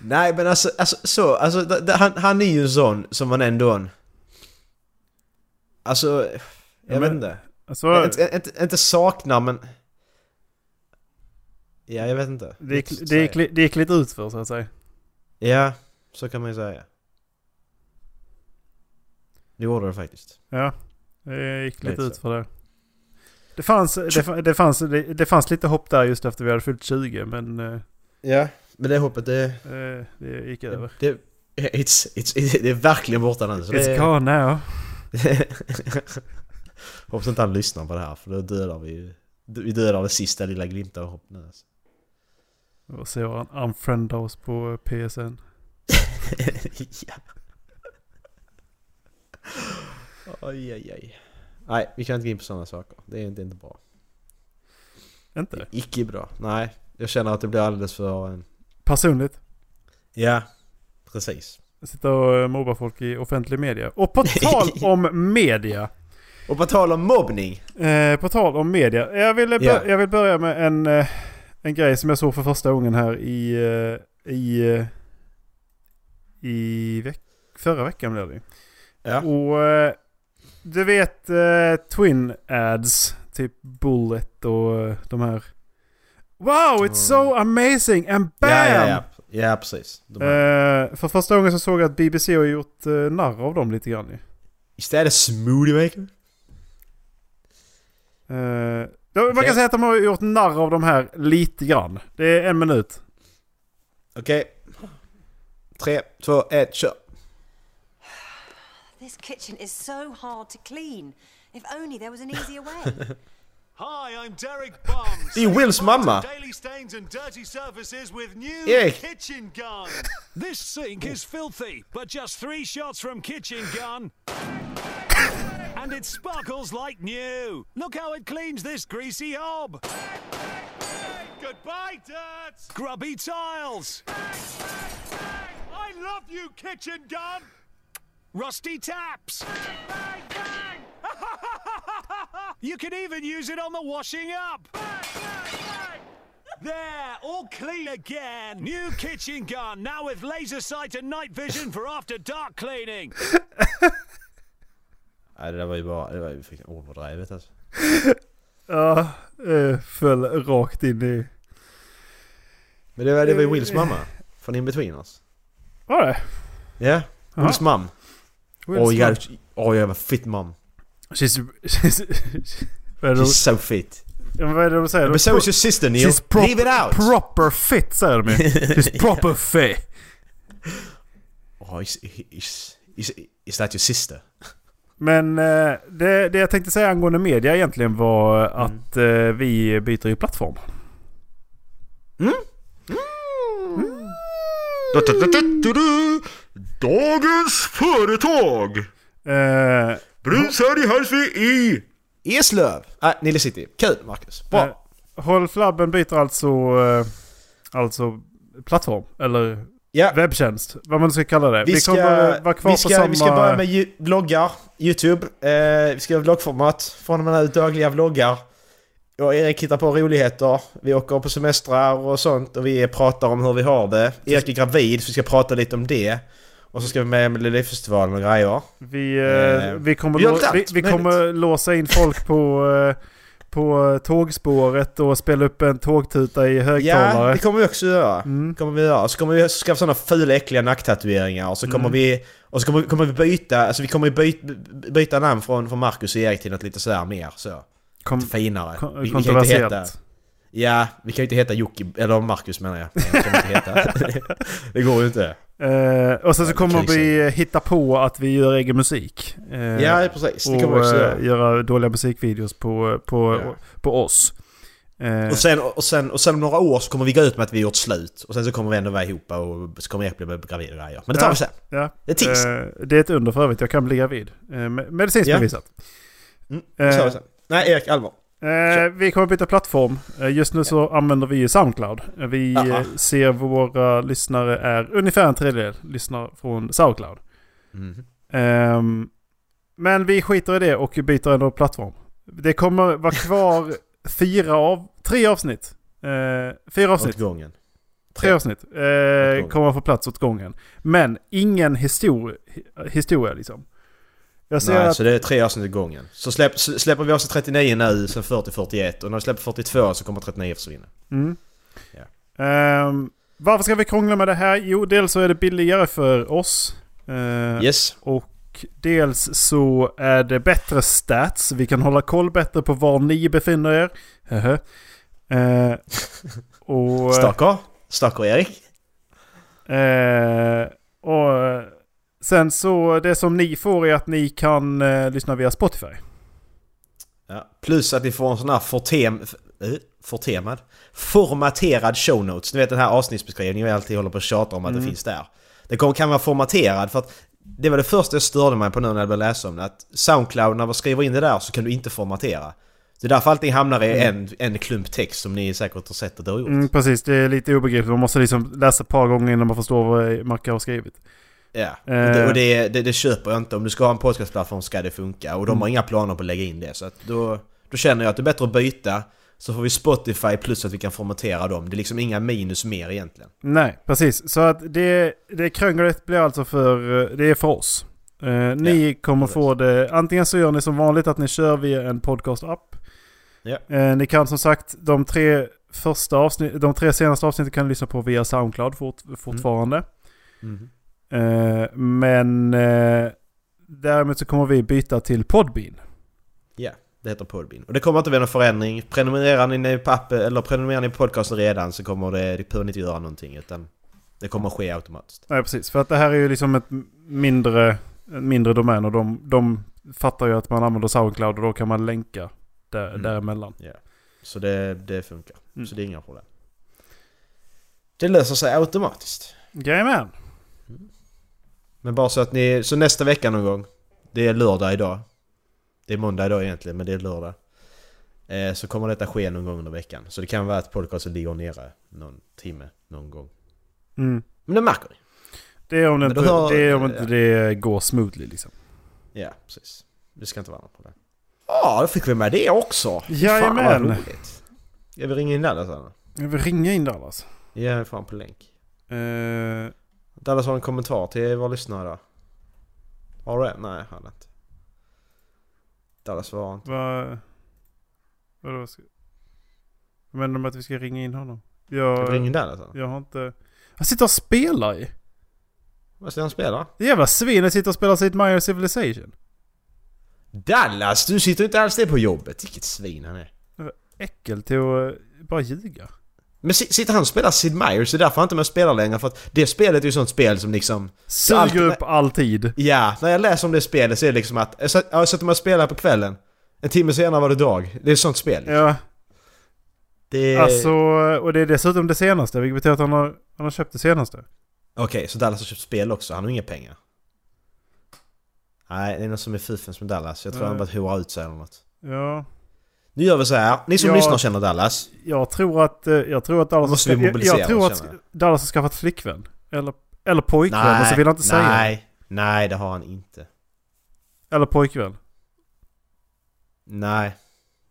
Speaker 12: Nej men alltså, alltså så, alltså d- d- han, han är ju en sån som man ändå... en- Alltså, jag
Speaker 11: Ja, men-
Speaker 12: vet inte.
Speaker 11: Alltså,
Speaker 12: Inte, inte, inte saknar men... Ja, jag vet inte.
Speaker 11: det gick,
Speaker 12: Vad jag ska
Speaker 11: det, gick,
Speaker 12: säga.
Speaker 11: li- det gick lite ut för så att säga.
Speaker 12: Ja, så kan man ju säga. Det gjorde det faktiskt.
Speaker 11: Ja, det gick lite
Speaker 12: Lite
Speaker 11: ut
Speaker 12: så.
Speaker 11: för det. Det fanns, det, fa- det, fanns, det, det fanns lite hopp där just efter vi hade fyllt 20, men eh,
Speaker 12: Ja, men det hoppet det...
Speaker 11: eh, det gick över.
Speaker 12: det it's, it's, it, det är verkligen borta nu. Så
Speaker 11: It's
Speaker 12: det,
Speaker 11: gone now.
Speaker 12: Hoppas inte han lyssnar på det här för då dödar vi ju- Vi dödar det sista lilla glimten av hopp nu alltså.
Speaker 11: Och så har han unfriendat oss på PSN.
Speaker 12: ja. Oj, oj, oj. Nej, vi kan inte gå in på sådana saker. Det är inte, inte bra.
Speaker 11: Inte?
Speaker 12: Det är icke bra. Nej, jag känner att det blir alldeles för... eh,
Speaker 11: Personligt.
Speaker 12: Ja, precis.
Speaker 11: Sitta och eh, mobba folk i offentlig media. Och på tal om media.
Speaker 12: Och på tal om mobbning.
Speaker 11: Eh, på tal om media. Jag vill, eh, bör-
Speaker 12: Ja.
Speaker 11: jag vill börja med en, eh, en grej som jag såg för första gången här i... eh, I, eh, i veck- förra veckan blev det ju. Och eh, du vet eh, Twin Ads. Typ Bullet och eh, de här. Wow, it's so amazing and bam!
Speaker 12: Mm. Ja, ja, ja. ja precis. De här.
Speaker 11: Eh, för första gången så såg jag att BBC har gjort eh, narr av dem lite grann ju.
Speaker 12: Is that a smoothie maker?
Speaker 11: Eh, ja, Man kan säga att de har gjort narr av de här lite grann. Det är en minut.
Speaker 12: Okej. Tre, två, ett, kör.
Speaker 14: This kitchen is so hard to clean. If only there was an easier way.
Speaker 15: Hi, I'm Derek Bum.
Speaker 12: Det är Wills mamma.
Speaker 15: Daily stains and dirty surfaces with new
Speaker 12: Erik.
Speaker 15: kitchen gun. this sink is filthy, but just three shots from kitchen gun. And it sparkles like new. Look how it cleans this greasy hob. Goodbye, dirt. Grubby tiles. I love you, kitchen gun. Rusty taps. You can even use it on the washing up. There, all clean again. New kitchen gun, now with laser sight and night vision for after dark cleaning.
Speaker 12: Nej, det där var ju bara... Det var ju fucking överdrivet alltså.
Speaker 11: Ja, eh, föll rakt in i...
Speaker 12: Men det var, det var ju Wills mamma. Från Inbetweeners.
Speaker 11: Var det?
Speaker 12: Ja,
Speaker 11: Jaha.
Speaker 12: Wills mom.
Speaker 11: Wills
Speaker 12: Åh
Speaker 11: mom.
Speaker 12: jag åh jag var fit mom.
Speaker 11: She's... she's vad är det
Speaker 12: She's
Speaker 11: de-
Speaker 12: so fit.
Speaker 11: Ja, men Vad är det de säger?
Speaker 12: But so is your sister, Neil.
Speaker 11: She's prop-
Speaker 12: Leave it out.
Speaker 11: Proper fit säger de ju. She's proper fit.
Speaker 12: Oh, is, is, is, is that your sister?
Speaker 11: Men eh, det, det jag tänkte säga angående media egentligen var
Speaker 12: Mm.
Speaker 11: eh, att eh, vi byter ju plattform.
Speaker 12: Mm.
Speaker 11: Mm.
Speaker 5: Dagens företag!
Speaker 11: Eh,
Speaker 5: Bruns här i Hallsby i...
Speaker 12: Eslöv! Nej, Nile City. Kul Marcus. Bra.
Speaker 11: Ah, Eh, Håll Flabben byter alltså, eh, alltså plattform. Eller webbtjänst. Vad man nu ska kalla det.
Speaker 12: Vi ska,
Speaker 11: kommer vara kvar
Speaker 12: vi ska,
Speaker 11: på samma...
Speaker 12: vi ska börja med ju, vloggar, YouTube. Eh, vi ska göra vloggformat. Från och med nu dagliga vloggar. Jag och Erik hittar på roligheter. Vi åker på semestrar och sånt och vi pratar om hur vi har det. Erik är gravid så vi ska prata lite om det. Och så ska vi med i Melodifestivalen och grejer.
Speaker 11: Vi, eh,
Speaker 12: Eh,
Speaker 11: vi, kommer,
Speaker 12: vi gör
Speaker 11: lå-
Speaker 12: allt
Speaker 11: vi, vi
Speaker 12: möjligt.
Speaker 11: kommer låsa in folk på, eh, på tågspåret och spela upp en tågtuta i
Speaker 12: Ja,
Speaker 11: högtalare. Mm.
Speaker 12: det kommer vi också göra. Kommer vi göra. Så kommer vi skaffa sådana fula äckliga nacktatueringar och så kommer
Speaker 11: Mm.
Speaker 12: vi... Och så kommer, kommer vi byta, alltså vi kommer byta, byta namn från, från Marcus och Erik till något lite sådär mer så.
Speaker 11: Kom-
Speaker 12: lite finare.
Speaker 11: Mm. kon-
Speaker 12: vi, vi kan ju inte
Speaker 11: kontroversiellt.
Speaker 12: heta... Ja, vi kan ju inte heta Jocke, eller Marcus menar jag. Det, kan vi inte heta. det går ju inte.
Speaker 11: Eh, och sen så kommer
Speaker 12: krig,
Speaker 11: vi hitta på att vi gör egen musik. Eh,
Speaker 12: Ja, precis. Det
Speaker 11: och
Speaker 12: kommer vi också
Speaker 11: eh,
Speaker 12: göra.
Speaker 11: göra dåliga musikvideos på, eh, på,
Speaker 12: Ja.
Speaker 11: på oss. Eh,
Speaker 12: Och sen, och, sen, och sen om några år så kommer vi gå ut med att vi gjort slut. Och sen så kommer vi ändå vara ihop och så kommer Erik bli gravid och grejer. Men det tar
Speaker 11: ja,
Speaker 12: vi sen.
Speaker 11: Ja.
Speaker 12: Det är tips.
Speaker 11: Eh, det är ett under för övrigt. Jag kan bli gravid. Eh, med- medicinskt
Speaker 12: Ja.
Speaker 11: bevisat.
Speaker 12: Mm, det tar vi
Speaker 11: Eh,
Speaker 12: sen. Nej, Erik, allvar.
Speaker 11: Eh, vi kommer byta plattform. Eh, just nu så använder vi ju Soundcloud. Eh, Vi
Speaker 12: Aha.
Speaker 11: eh, ser våra lyssnare är ungefär en tredjedel lyssnar från Soundcloud.
Speaker 12: Mhm.
Speaker 11: Ehm, men vi skiter i det och byter ändå plattform. Det kommer vara kvar fyra av, tre avsnitt. Eh, fyra avsnitt.
Speaker 12: Åt gången.
Speaker 11: Tre avsnitt eh, kommer få plats åt gången. Men ingen histori- historia liksom. Alltså Jag ser
Speaker 12: Nej,
Speaker 11: att
Speaker 12: så det är tre avsnitt i gången. Så släpp, s- släpper vi avsnitt 39 nu, sen 40, 41 och när vi släpper 42 så kommer 39 försvinna.
Speaker 11: Mm. Ehm, varför ska vi krångla med det här? Jo, dels så är det billigare för oss. Eh,
Speaker 12: Yes.
Speaker 11: Och dels så är det bättre stats. Vi kan hålla koll bättre på var ni befinner er. Hehe. Eh, och...
Speaker 12: Stackar. Stackar Erik.
Speaker 11: Eh, och eh, sen så, det som ni får är att ni kan eh, lyssna via Spotify.
Speaker 12: Ja. Plus att ni får en sån här fortem, f- eh, fortemad, formaterad show notes. Ni vet den här avsnittsbeskrivningen vi alltid håller på att tjata om att
Speaker 11: Mm.
Speaker 12: det finns där. Den kommer, kan vara formaterad för att det var det första jag störde mig på nu när jag började läsa om det. Att Soundcloud, när man skriver in det där så kan du inte formatera. Det är därför allting hamnar i en, en klump text som ni säkert har sett att det har gjort.
Speaker 11: Mm, precis, det är lite obegripligt. Man måste liksom läsa ett par gånger innan man förstår vad Macke har skrivit.
Speaker 12: Ja, och det, och det, det, det köper jag inte. Om du ska ha en podcastplattform ska det funka. Och de har
Speaker 11: Mm.
Speaker 12: inga planer på att lägga in det. Så att då, då känner jag att det är bättre att byta. Så får vi Spotify plus att vi kan formatera dem. Det är liksom inga minus mer egentligen.
Speaker 11: Nej, precis. Så att det, det krånglet blir alltså för, eh, det är för oss. Eh, ni kommer få det, antingen så gör ni som vanligt att ni kör via en podcast-app.
Speaker 12: Ja.
Speaker 11: Eh, ni kan som sagt, de tre, första avsnitt, de tre senaste avsnitten kan ni lyssna på via Soundcloud fort, fortfarande.
Speaker 12: Mhm.
Speaker 11: Eh, men eh, däremot så kommer vi byta till Podbean.
Speaker 12: Ja, det heter Podbean. Och det kommer inte bli någon förändring. Prenumererar ni på appen, eller prenumererar ni på podcasten redan så kommer det, det behöver inte göra någonting. Utan det kommer ske automatiskt.
Speaker 11: Nej, precis. För att det här är ju liksom ett mindre, en mindre domän och de, de fattar ju att man använder Soundcloud och då kan man länka där,
Speaker 12: Mm.
Speaker 11: däremellan.
Speaker 12: Ja. Så det, det funkar. Så det är inga problem. Det löser sig automatiskt.
Speaker 11: Jajamän!
Speaker 12: Men bara så att ni... Så nästa vecka någon gång. Det är lördag idag. Det är måndag idag egentligen, men det är lördag. Eh, så kommer detta ske någon gång under veckan. Så det kan vara att podcasten ligger nere någon timme, någon gång.
Speaker 11: Mm.
Speaker 12: Men det märker ni.
Speaker 11: Det är om det
Speaker 12: Men då
Speaker 11: inte,
Speaker 12: hör-
Speaker 11: det, är om inte
Speaker 12: ja.
Speaker 11: det går smoothly liksom.
Speaker 12: Ja, precis. Det ska inte vara något problem. Ja, då fick vi med det också! Fan, vad
Speaker 11: Jajamän.
Speaker 12: roligt. Jag vill ringa in Dallas här
Speaker 11: Jag vill ringa in Dallas.
Speaker 12: nu. Ge mig fan på länk.
Speaker 11: Uh,
Speaker 12: Dallas har en kommentar till vår lyssnare idag. Har du det? Nej, han har inte. Dallas svarar inte.
Speaker 11: Vad... Vadå? Ska... Vad menar du med att vi ska ringa in honom? Jag...
Speaker 12: Ska vi ringa in Dallas eller?
Speaker 11: Jag har inte... Han sitter och spelar ju!
Speaker 12: Vad ska han spela?
Speaker 11: Det jävla svinet sitter och spelar sitt Minor Civilization.
Speaker 12: Dallas, du sitter inte alls det på jobbet. Vilket svin han är.
Speaker 11: Äckel till att eh, bara ljuga.
Speaker 12: Men si- sitter han och spelar Sid Meier's, det är därför han inte är med och spelar längre. För att det spelet är ju sånt spel som liksom...
Speaker 11: Suger
Speaker 12: alltid-
Speaker 11: upp all tid.
Speaker 12: Ja, när jag läser om det spelet så är det liksom att... Jag satt- jag sätter mig och spelar på kvällen. En timme senare var det dag. Det är ett sånt spel.
Speaker 11: Ja.
Speaker 12: Det...
Speaker 11: Alltså, och det är dessutom det senaste, vilket betyder att han har, han har köpt det senaste.
Speaker 12: Okej, så Dallas har köpt spel också. Han har inga pengar. Nej, det är något som är fufens med Dallas. Jag tror
Speaker 11: Nej.
Speaker 12: han bara hora ut sig eller något.
Speaker 11: Ja.
Speaker 12: Nu gör vi så här. Ni som
Speaker 11: Ja.
Speaker 12: lyssnar känner Dallas.
Speaker 11: Jag tror att, eh, jag tror att Dallas,
Speaker 12: Måste vi
Speaker 11: ska- jag,
Speaker 12: mobilisera
Speaker 11: jag tror
Speaker 12: oss,
Speaker 11: att
Speaker 12: känner
Speaker 11: Dallas har skaffat flickvän. Eller, eller pojkvän, och så vill han inte säga.
Speaker 12: nej, nej, det har han inte.
Speaker 11: Eller pojkvän.
Speaker 12: Nej.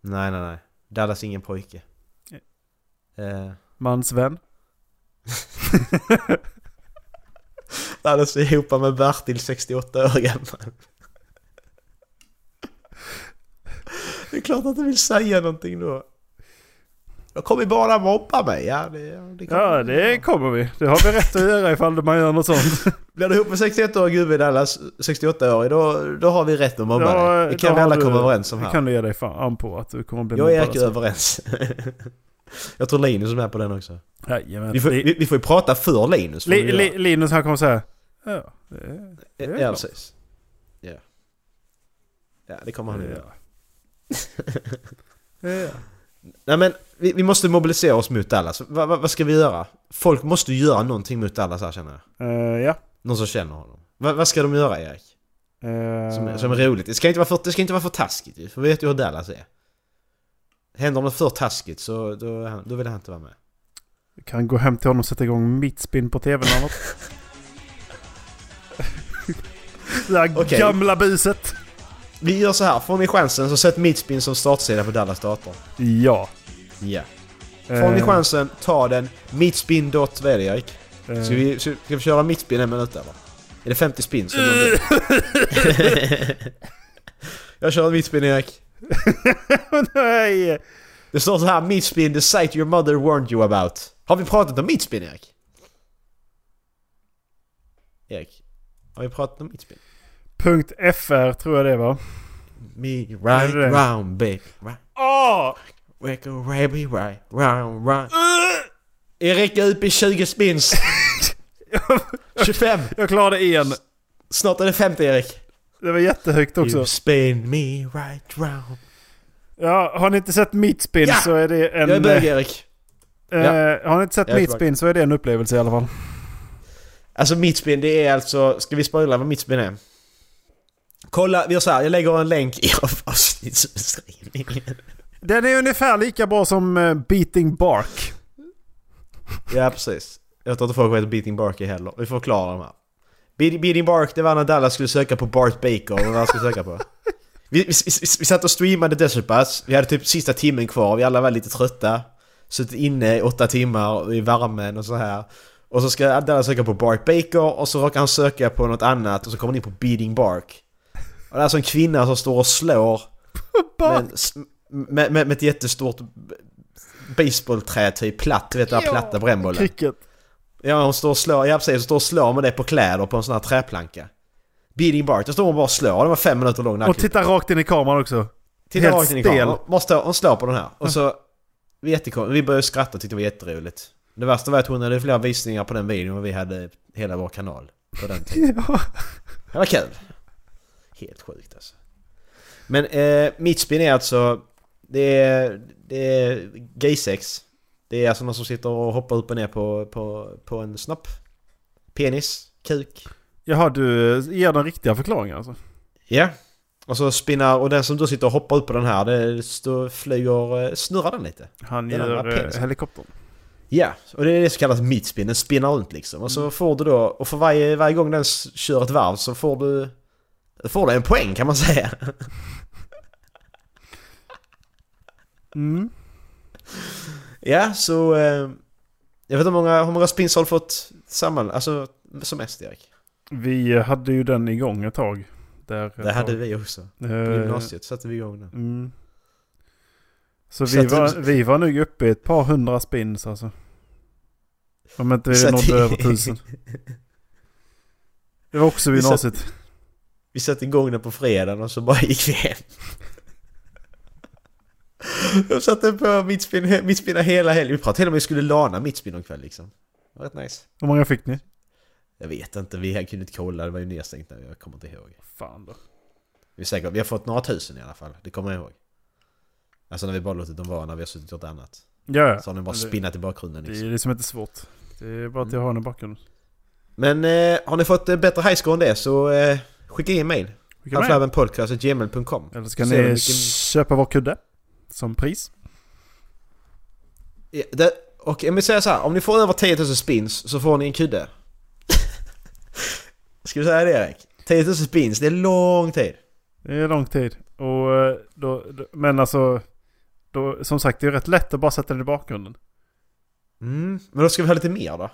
Speaker 12: Nej, nej, nej. Dallas är ingen pojke. Eh,
Speaker 11: Mansvän.
Speaker 12: Dallas är ihop med Bertil, 68 år gammal. Det är klart att du vill säga någonting då. Då kommer bara mobba mig. Ja, det, det kommer-
Speaker 11: Ja, det kommer vi. Det har vi rätt att göra ifall man gör något sånt.
Speaker 12: Blir du ihop med 61-årig gubbe i Dallas, 68-årig, då, då har vi rätt att mobba
Speaker 11: Ja,
Speaker 12: dig. Det kan
Speaker 11: då
Speaker 12: vi
Speaker 11: har
Speaker 12: alla
Speaker 11: du-
Speaker 12: komma överens om
Speaker 11: det
Speaker 12: här.
Speaker 11: kan du ge dig fan på att du kommer bli
Speaker 12: Jag och
Speaker 11: mobbad
Speaker 12: Erik är
Speaker 11: alltså.
Speaker 12: överens. Jag tror Linus är med på den också.
Speaker 11: Jajamän.
Speaker 12: Vi får,
Speaker 11: Li-
Speaker 12: vi, vi får ju prata för Linus. får vi
Speaker 11: Li,
Speaker 12: göra.
Speaker 11: li, Linus han kommer säga Ja, det är, det är
Speaker 12: ja,
Speaker 11: klart.
Speaker 12: precis. Ja. ja, det kommer han att göra.
Speaker 11: Ja.
Speaker 12: Nej men, vi, vi måste mobilisera oss mot Dallas. Va, va, vad ska vi göra? Folk måste ju göra någonting mot Dallas här känner jag.
Speaker 11: Eh, ja.
Speaker 12: Någon som känner honom. Va, vad ska de göra Erik?
Speaker 11: Eh,
Speaker 12: Som, som är roligt. Det ska, inte vara för, det ska inte vara för taskigt ju, för vi vet ju hur Dallas är. Händer något för taskigt så då, är han- då vill han inte vara med.
Speaker 11: Kan gå hem till honom och sätta igång mitt spinn på tvn eller något. det här
Speaker 12: Okej.
Speaker 11: gamla buset.
Speaker 12: Vi gör så här, får ni chansen så sätt Mitspin som startsida på Dallas dator.
Speaker 11: Ja.
Speaker 12: Ja. Får ni
Speaker 11: Eh.
Speaker 12: chansen, ta den. Mitspin dot... Vad är det Erik? Ska
Speaker 11: Eh.
Speaker 12: vi, ska vi köra mitspin en minut eller? Är det 50 spin så blir det- Jag kör en mitspin Erik.
Speaker 11: Nej!
Speaker 12: Det står så här, mitspin the site your mother warned you about. Har vi pratat om mitspin Erik? Erik? Har vi pratat om mitspin?
Speaker 11: Punkt .fr tror jag det var.
Speaker 12: Me
Speaker 11: Är
Speaker 12: right
Speaker 11: det det?
Speaker 12: round baby right.
Speaker 11: Åh!
Speaker 12: Wake up baby right round round. Uh! Erik är uppe i 20 spins. 25.
Speaker 11: Jag klarade en.
Speaker 12: Snart är det 50 Erik.
Speaker 11: Det var jättehögt också.
Speaker 12: You spin me right round.
Speaker 11: Ja, har ni inte sett mitt spinn
Speaker 12: Ja!
Speaker 11: så är det en...
Speaker 12: Jag är bög
Speaker 11: eh,
Speaker 12: Erik.
Speaker 11: eh,
Speaker 12: Ja.
Speaker 11: Har ni inte sett
Speaker 12: Jag är
Speaker 11: mitt
Speaker 12: tillbaka.
Speaker 11: spinn så är det en upplevelse i alla fall.
Speaker 12: Alltså mitt spin, det är alltså... Ska vi spoila vad mitt spin är? Kolla, vi gör så här, jag lägger en länk i avsnittsbeskrivningen.
Speaker 11: Den är ungefär lika bra som eh, Beating Bark.
Speaker 12: Ja, precis. Jag tror inte folk vet Beating Bark är heller. Vi får klara dem här. Be- Beating Bark, det var när Dallas skulle söka på Bart Baker, vad han skulle söka på. Vi, vi, vi, vi satt och streamade Desert Bus, vi hade typ sista timmen kvar, vi alla var lite trötta. Suttit inne i åtta timmar i värmen och så här. Och så ska Dallas söka på Bart Baker och så råkar han söka på något annat och så kommer han in på Beating Bark. Och det är alltså en kvinna som står och slår med, en s- med, med, med ett jättestort baseballträ typ platt, du vet den här
Speaker 11: Ja,
Speaker 12: platta brännbollen.
Speaker 11: Cricket.
Speaker 12: Ja, hon står och slår, ja precis, hon står och slår med det på kläder på en sån här träplanka. Beating Bart, då står hon bara och slår, den var fem minuter lång den här
Speaker 11: Och titta rakt in i kameran också.
Speaker 12: Titta
Speaker 11: Helt
Speaker 12: rakt in i
Speaker 11: stel.
Speaker 12: kameran. Hon stå- Hon slår på den här. Och så... Vi, är jättekom- vi började skratta och tyckte det var jätteroligt. Det värsta var att hon hade fler visningar på den videon än vi hade hela vår kanal. På den tiden. Det var kul. Helt sjukt alltså. Men eh, mitt spin är alltså... Det är, det är gaysex. Det är alltså någon som sitter och hoppar upp och ner på, på, på en snopp. Penis. Kuk.
Speaker 11: Jaha, du eh, ger den riktiga förklaringen alltså?
Speaker 12: Ja. Och så spinnar, och den som då sitter och hoppar upp på den här, det står, flyger, eh, snurrar den lite.
Speaker 11: Han
Speaker 12: Den andra
Speaker 11: gör eh,
Speaker 12: penisen.
Speaker 11: helikoptern.
Speaker 12: Ja, och det är det som kallas mittspin, den spinnar runt liksom. Och så får du då, och för varje, varje gång den s- kör ett varv så får du, får du en poäng kan man säga.
Speaker 11: Mm.
Speaker 12: ja, så... Eh, jag vet inte hur många, hur många spins har du fått samman, alltså som mest Erik?
Speaker 11: Vi hade ju den igång ett tag. Där
Speaker 12: Det hade vi också. På
Speaker 11: Eh,
Speaker 12: gymnasiet satte vi igång den.
Speaker 11: Mm. Så
Speaker 12: Så
Speaker 11: vi
Speaker 12: att-
Speaker 11: var, vi var nog uppe i ett par hundra spins alltså. Om inte vi
Speaker 12: Så att-
Speaker 11: nådde över tusen. Det var också vid
Speaker 12: Vi satt-
Speaker 11: gymnasiet.
Speaker 12: Vi satte igång den på fredagen och så bara gick vi hem. Jag satte på mittspin, mittspinna hela helgen. Vi pratade till och med om vi skulle lana mittspinn någon kväll liksom. Det var rätt nice.
Speaker 11: Hur många fick ni?
Speaker 12: Jag vet inte, vi kunde inte kolla, det var ju nedstängt när jag kommer inte ihåg.
Speaker 11: Fan då.
Speaker 12: Vi, är säkert, vi har fått några tusen i alla fall, det kommer jag ihåg. Alltså när vi bara låtit dem vara, när vi har suttit och gjort annat.
Speaker 11: Ja, ja.
Speaker 12: Så har den bara Mm.
Speaker 11: Men det-
Speaker 12: spinnat i bakgrunden
Speaker 11: Det är
Speaker 12: liksom.
Speaker 11: liksom inte svårt. Det är bara att jag har den i bakgrunden.
Speaker 12: Men eh, har ni fått eh, bättre highscore än det så eh, skicka in mail.
Speaker 11: Skicka mail.
Speaker 12: Halflabbenpodcast.gmail.com
Speaker 11: Eller ska ni köpa vår kudde? Som pris?
Speaker 12: Ja, det, och jag vill säga så här, om ni får över 10 000 spins så får ni en kudde. Ska vi säga det Erik? 10 000 spins, det är lång tid.
Speaker 11: Det är lång tid. Och eh, då, då, men alltså, då, som sagt det är rätt lätt att bara sätta den i bakgrunden.
Speaker 12: Mm, men då ska vi ha lite mer då.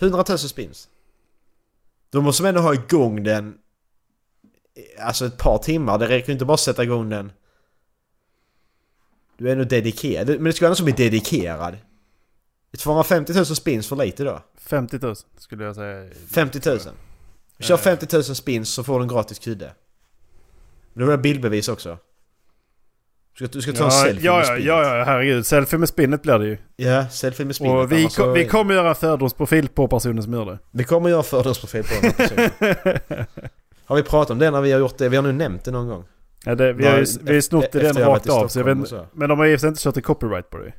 Speaker 12: 100 000 spins. Då måste man ändå ha igång den... eh, Alltså ett par timmar, det räcker ju inte bara att sätta igång den... Du är ändå dedikerad, Du- men det ska vara någon som är dedikerad. 250 000 spins för lite då.
Speaker 11: 50 000 skulle jag säga.
Speaker 12: 50 000. Kör 50 000 spins så får du en gratis kudde. Men då vill jag bildbevis också. Du ska, du ska ta en selfie
Speaker 11: ja,
Speaker 12: med
Speaker 11: ja,
Speaker 12: spin.
Speaker 11: ja, ja, herregud. Selfie med spinnet blir det ju.
Speaker 12: Ja, selfie med spinnet.
Speaker 11: Och vi,
Speaker 12: annars så
Speaker 11: ko-
Speaker 12: är
Speaker 11: vi
Speaker 12: det-
Speaker 11: kommer göra en fördomsprofil på personen som gör det.
Speaker 12: Vi kommer göra fördomsprofil på den här personen. Har vi pratat om det när vi har gjort det? Vi har nu nämnt det
Speaker 11: Eh.
Speaker 12: någon gång.
Speaker 11: Ja, det vi har ju vi har ju snott
Speaker 12: e- Efter
Speaker 11: idén
Speaker 12: jag varit
Speaker 11: rakt
Speaker 12: i
Speaker 11: av. Så jag vet,
Speaker 12: Stockholm och
Speaker 11: inte- men de har ju i och för sig inte kört en copyright på det.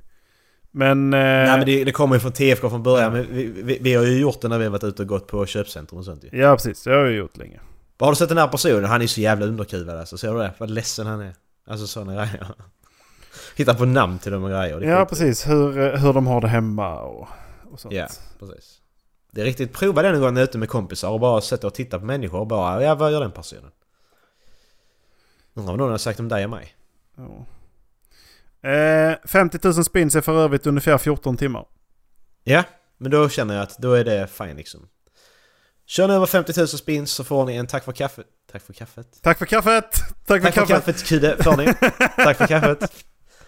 Speaker 11: Men... Eh,
Speaker 12: Nej men det, det kommer ju från TFK från början. Men vi, vi, vi har ju gjort det när vi har varit ute och gått på köpcentrum och sånt ju.
Speaker 11: Ja, precis. Det har jag ju gjort länge.
Speaker 12: Bara Har du sett den här personen? Han är så jävla underkuvad alltså. Ser du det? Vad ledsen han är. Alltså sådana grejer. Hitta på namn till dem och grejer. Det är
Speaker 11: Ja,
Speaker 12: skit.
Speaker 11: precis. Hur, eh, hur de har det hemma och, och sånt.
Speaker 12: Ja, precis. Det är riktigt. Prova den en gång när du är ute med kompisar och bara sätta och titta på människor och bara ja, vad gör den personen? Undrar vad någon har sagt om dig och mig.
Speaker 11: Ja. Eh, 50 000 spins är för övrigt ungefär 14 timmar.
Speaker 12: Ja, men då känner jag att då är det fine liksom. Kör ni över 50 000 spins så får ni en tack för kaffet. Tack för kaffet.
Speaker 11: Tack för kaffet! Tack,
Speaker 12: Tack för kaffet Kide, får ni. Tack för kaffet.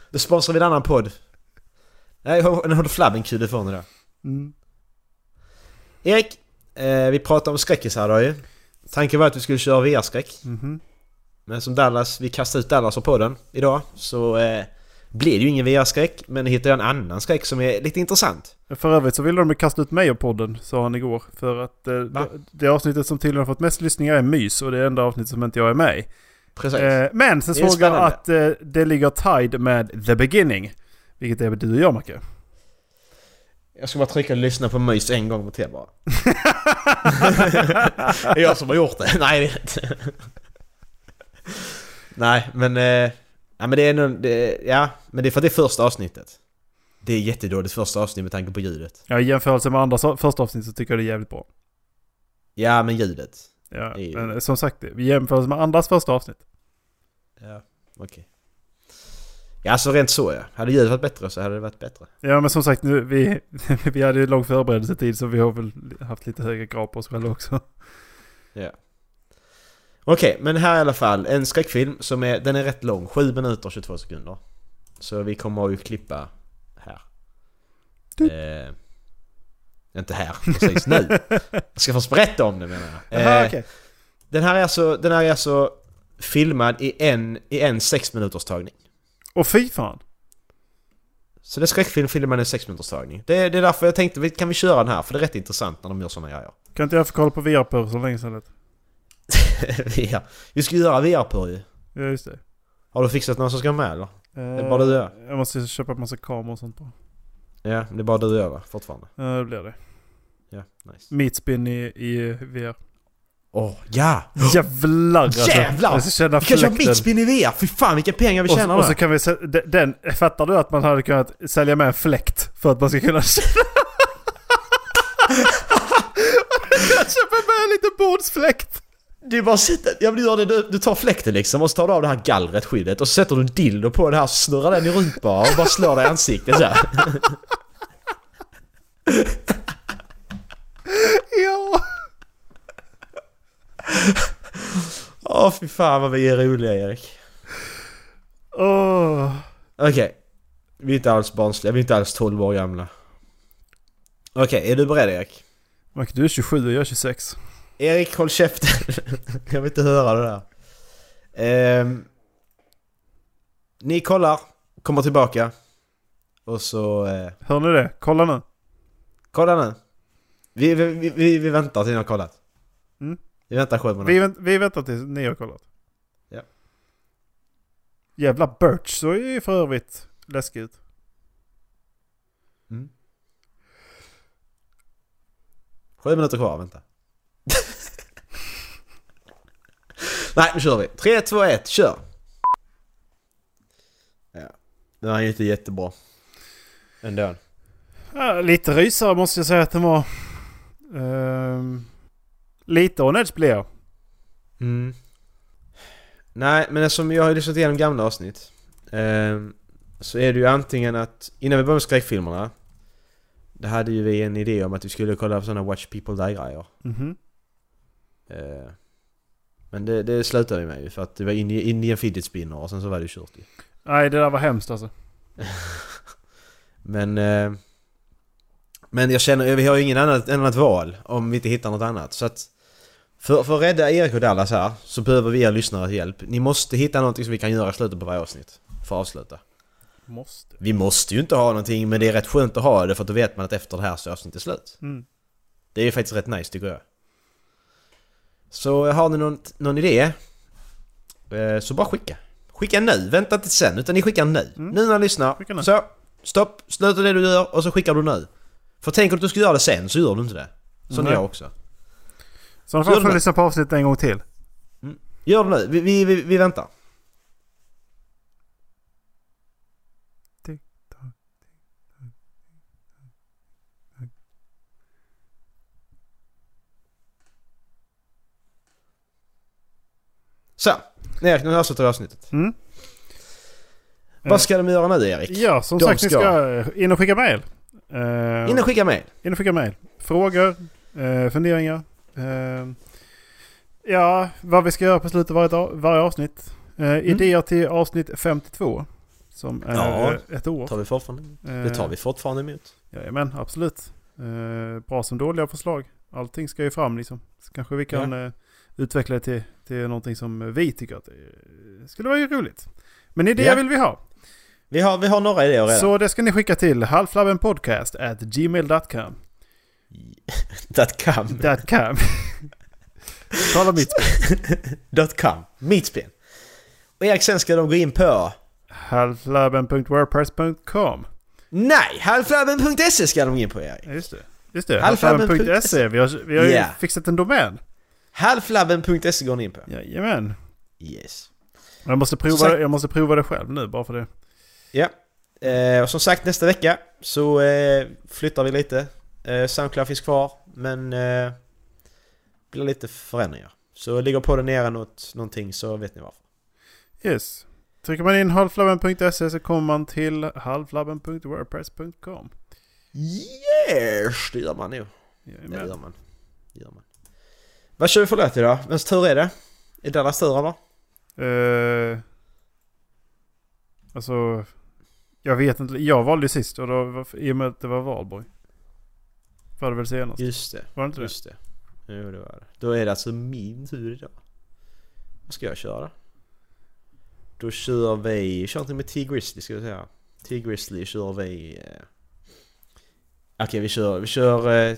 Speaker 12: Då sponsrar vi en annan podd. Nej, en Håll Flabben Kide får ni då.
Speaker 11: Mm.
Speaker 12: Erik, eh, vi pratade om skräckisar idag ju. Tanken var att vi skulle köra VR-skräck.
Speaker 11: Mhm.
Speaker 12: Men som Dallas, vi kastade ut Dallas på podden idag. Så eh, blir det ju ingen VR-skräck. Men hittar jag en annan skräck som är lite intressant.
Speaker 11: För övrigt så ville de ju kasta ut mig ur podden, sa han igår. För att eh, det, det avsnittet som tydligen har fått mest lyssningar är mys och det är enda avsnittet som inte jag är med i.
Speaker 12: Precis.
Speaker 11: Eh, men sen
Speaker 12: Det är
Speaker 11: såg jag
Speaker 12: spännande.
Speaker 11: att eh, det ligger tied med The Beginning. Vilket är du och jag Macke.
Speaker 12: Jag ska bara trycka och lyssna på mys en gång på till bara. det är jag som har gjort det. Nej, jag vet inte. Nej, men... Eh, ja, men det är nog... det- Ja, men det är för att det är första avsnittet. Det är jättedåligt första avsnitt med tanke på ljudet.
Speaker 11: Ja, i jämförelse med andra so- första avsnitt så tycker jag det är jävligt bra.
Speaker 12: Ja, men ljudet.
Speaker 11: Ja,
Speaker 12: Det är ju-
Speaker 11: men eh, som sagt, i jämförelse med andras första avsnitt.
Speaker 12: Ja, okej. Ja, alltså rent så ja. Hade ljudet varit bättre så hade det varit bättre.
Speaker 11: Ja men som sagt, nu, vi, vi hade ju lång förberedelsetid så vi har väl haft lite högre krav på oss själva också.
Speaker 12: Ja. Okej, men här i alla fall. En skräckfilm som är, den är rätt lång. 7 minuter och 22 sekunder. Så vi kommer att ju klippa här. Eh, inte här, precis nu. Jag ska först berätta om det menar jag. Eh,
Speaker 11: Jaha, okej.
Speaker 12: den, här är alltså, den här är alltså filmad i en, i en sex minuters tagning.
Speaker 11: Och fy fan!
Speaker 12: Så det är skräckfilm filmad i en sex minuters tagning. Det, är- det är därför jag tänkte, vi- kan vi köra den här? För det är rätt intressant när de gör såna grejer.
Speaker 11: Kan inte jag få kolla på VR-pur så länge sedan?
Speaker 12: VR. Vi ska göra VR på ju.
Speaker 11: Ja just det.
Speaker 12: Har du fixat någon som ska med eller? det är
Speaker 11: Eh,
Speaker 12: bara du och jag.
Speaker 11: Jag måste köpa en massa kameror och sånt bara.
Speaker 12: Ja, det är bara du och jag va? Fortfarande.
Speaker 11: Ja det blir det.
Speaker 12: Ja, nice.
Speaker 11: Meatspin i, i VR.
Speaker 12: Åh, ja!
Speaker 11: Jävlar alltså!
Speaker 12: Jävlar!
Speaker 11: Jag ska känna
Speaker 12: vi kan köra
Speaker 11: fläkten.
Speaker 12: Mitspin i VR! Fy fan vilka pengar vi
Speaker 11: Och,
Speaker 12: tjänar
Speaker 11: och
Speaker 12: och,
Speaker 11: så kan vi sä- de- den, fattar du att man hade kunnat sälja med en fläkt för att man ska kunna köpa med en liten bordsfläkt!
Speaker 12: Du bara sitter, ja, men du, gör det, du, du tar fläkten liksom och så tar du av det här gallret, skyddet och så sätter du en dildo på det här, snurrar den i runt bara och bara slår dig i ansiktet så här.
Speaker 11: Ja!
Speaker 12: Åh fy fan vad vi är roliga Erik.
Speaker 11: Åh.
Speaker 12: Okej. Vi är inte alls barnsliga, vi är inte alls 12 år gamla. Okej, är du beredd Erik?
Speaker 11: Mark, du är 27 och jag är 26.
Speaker 12: Erik håll käften. jag vill inte höra det där. Ehm, ni kollar, kommer tillbaka. Och så... Eh,
Speaker 11: Hör ni det? Kolla nu.
Speaker 12: kolla nu. Vi, vi, vi- vi, vi väntar tills ni har kollat.
Speaker 11: Mm.
Speaker 12: Vi väntar sju månader.
Speaker 11: Vi, vänt, vi väntar tills ni har kollat.
Speaker 12: Ja.
Speaker 11: Jävla Birch så är ju för övrigt läskig ut.
Speaker 12: Sju minuter kvar, vänta. Nej, nu kör vi. 3, 2, 1, kör! Ja. Den här är inte jättebra. Ändå.
Speaker 11: Ja, lite rysare måste jag säga att den var. Ehm, lite on edge blir jag.
Speaker 12: Mm. Nej, men eftersom jag har lyssnat igenom gamla avsnitt. ehm, så är det ju antingen att, innan vi börjar med skräckfilmerna. Då hade ju vi en idé om att vi skulle kolla på sådana Watch People Die-grejer.
Speaker 11: Mhm.
Speaker 12: Eh, Men det, det slutade vi med ju för att det var Indian, Indian fidget spinner och sen så var det kört ju.
Speaker 11: Nej, det där var hemskt alltså.
Speaker 12: Men... eh, Men jag känner, vi har ju ingen annat, annat val om vi inte hittar något annat. Så att... För, för att rädda Erik och Dallas här så behöver vi er lyssnare hjälp. Ni måste hitta någonting som vi kan göra i slutet på varje avsnitt. För att avsluta.
Speaker 11: Måste.
Speaker 12: Vi måste ju inte ha någonting men det är rätt skönt att ha det för att då vet man att efter det här så är avsnittet slut.
Speaker 11: Mm.
Speaker 12: Det är ju faktiskt rätt nice tycker jag. Så har ni någon, någon idé? eh, Så bara skicka. Skicka nu, vänta inte sen utan ni skickar nu.
Speaker 11: Mm.
Speaker 12: Nu när ni lyssnar. Så, stopp, sluta det du gör och så skickar du nu. För tänker du att du ska göra det sen så gör du inte det. Som
Speaker 11: Nej.
Speaker 12: jag också.
Speaker 11: Så då
Speaker 12: Gör
Speaker 11: får
Speaker 12: det.
Speaker 11: jag lyssna på avsnittet en gång till.
Speaker 12: Gör det nu, vi, vi, vi, vi väntar. Så, Erik, nu har jag avslutat avsnittet.
Speaker 11: Mm.
Speaker 12: Vad ska de göra nu Erik?
Speaker 11: Ja, som
Speaker 12: De
Speaker 11: sagt, ni ska in och skicka mejl. Eh,
Speaker 12: In och skicka mejl.
Speaker 11: In och skicka mejl. Frågor, eh, funderingar. Eh, ja, vad vi ska göra på slutet av varje, av- varje avsnitt. Eh,
Speaker 12: Mm.
Speaker 11: Idéer till avsnitt 52. Som är
Speaker 12: Ja,
Speaker 11: eh, ett år.
Speaker 12: tar vi fortfarande.
Speaker 11: Eh,
Speaker 12: Det tar vi fortfarande emot.
Speaker 11: Jajamän, absolut. Eh, bra som dåliga förslag. Allting ska ju fram liksom. Så kanske vi kan eh, utveckla det till, till någonting som vi tycker att det skulle vara ju roligt. Men idéer
Speaker 12: Ja.
Speaker 11: vill vi ha.
Speaker 12: Vi har, vi har några idéer redan.
Speaker 11: Så det ska ni skicka till halflabbenpodcast at gmail.com.
Speaker 12: Dot com.
Speaker 11: That cam. Tala mitt
Speaker 12: Dot com. Meatspin. Och Erik, sen ska de gå in på...
Speaker 11: halflabben.wordpress.com.
Speaker 12: Nej, halflabben.se ska de in på Erik.
Speaker 11: Just det. Just det, halflabben.se. E. Vi har, vi har ju
Speaker 12: Yeah.
Speaker 11: fixat en domän.
Speaker 12: Halflabben.se går ni in på.
Speaker 11: Jajamän.
Speaker 12: Yes.
Speaker 11: Jag måste,
Speaker 12: Som
Speaker 11: prova,
Speaker 12: sagt-
Speaker 11: jag måste prova det själv nu bara för det.
Speaker 12: Ja. Eh, och som sagt, nästa vecka så eh, flyttar vi lite. Eh, Soundcloud finns kvar, men eh, blir lite förändringar. Så ligger podden nere något, någonting så vet ni varför.
Speaker 11: Yes. Trycker man in halflabben.se E så kommer man till halflabben.wordpress.com.
Speaker 12: Yes, det gör man nog. Det gör man. Det gör man. Vad kör vi för låt idag? Vems tur är det? Är Dallas tur eller?
Speaker 11: Eh, alltså, jag vet inte. Jag valde ju sist och då, var- i och med att det var valborg. Var det väl senast?
Speaker 12: Just det.
Speaker 11: Var det inte det?
Speaker 12: Just det. Jo, det var det. Då är det alltså min tur idag. Vad ska jag köra? Då kör vi... Kör inte med T-Grizzly ska vi säga. T-Grizzly kör vi... eh, Okej, vi kör... Vi kör eh,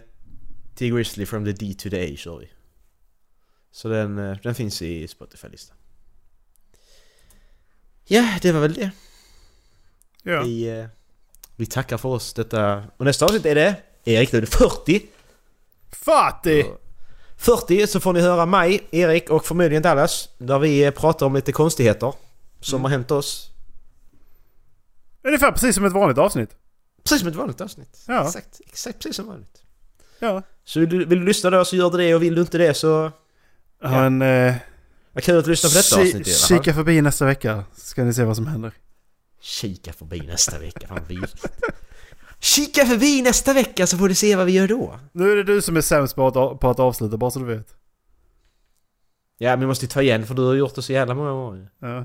Speaker 12: T-Grizzly from the D to the A kör vi. Så den, eh, den finns i Spotify-listan. Ja, det var väl det.
Speaker 11: Ja.
Speaker 12: Vi, eh, vi tackar för oss detta. Och nästa avsnitt är det... Erik, då är det 40!
Speaker 11: 40!
Speaker 12: 40 så får ni höra mig, Erik och förmodligen Dallas. Där vi eh, pratar om lite konstigheter som har hänt oss.
Speaker 11: Ungefär precis som ett vanligt avsnitt.
Speaker 12: Precis som ett vanligt avsnitt.
Speaker 11: Ja.
Speaker 12: Exakt, exakt precis som vanligt.
Speaker 11: Ja.
Speaker 12: Så vill du, vill du lyssna då så gör du det och vill du inte det så...
Speaker 11: Ha en... Eh,
Speaker 12: Vad kul att du lyssnar på detta
Speaker 11: ki-
Speaker 12: avsnitt i alla
Speaker 11: Kika
Speaker 12: fall.
Speaker 11: förbi nästa vecka så ska ni se vad som händer.
Speaker 12: Kika förbi nästa vecka, fan vidrigt. Kika förbi nästa vecka så får du se vad vi gör då.
Speaker 11: Nu är det du som är sämst på att, på att avsluta, bara så du vet.
Speaker 12: Ja, men vi måste ju ta igen för du har gjort det så jävla många gånger.
Speaker 11: Ja.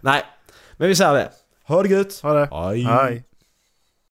Speaker 12: Nej, men vi säger det. Ha det gött!
Speaker 11: Ha det!
Speaker 12: Hej.
Speaker 11: Hej.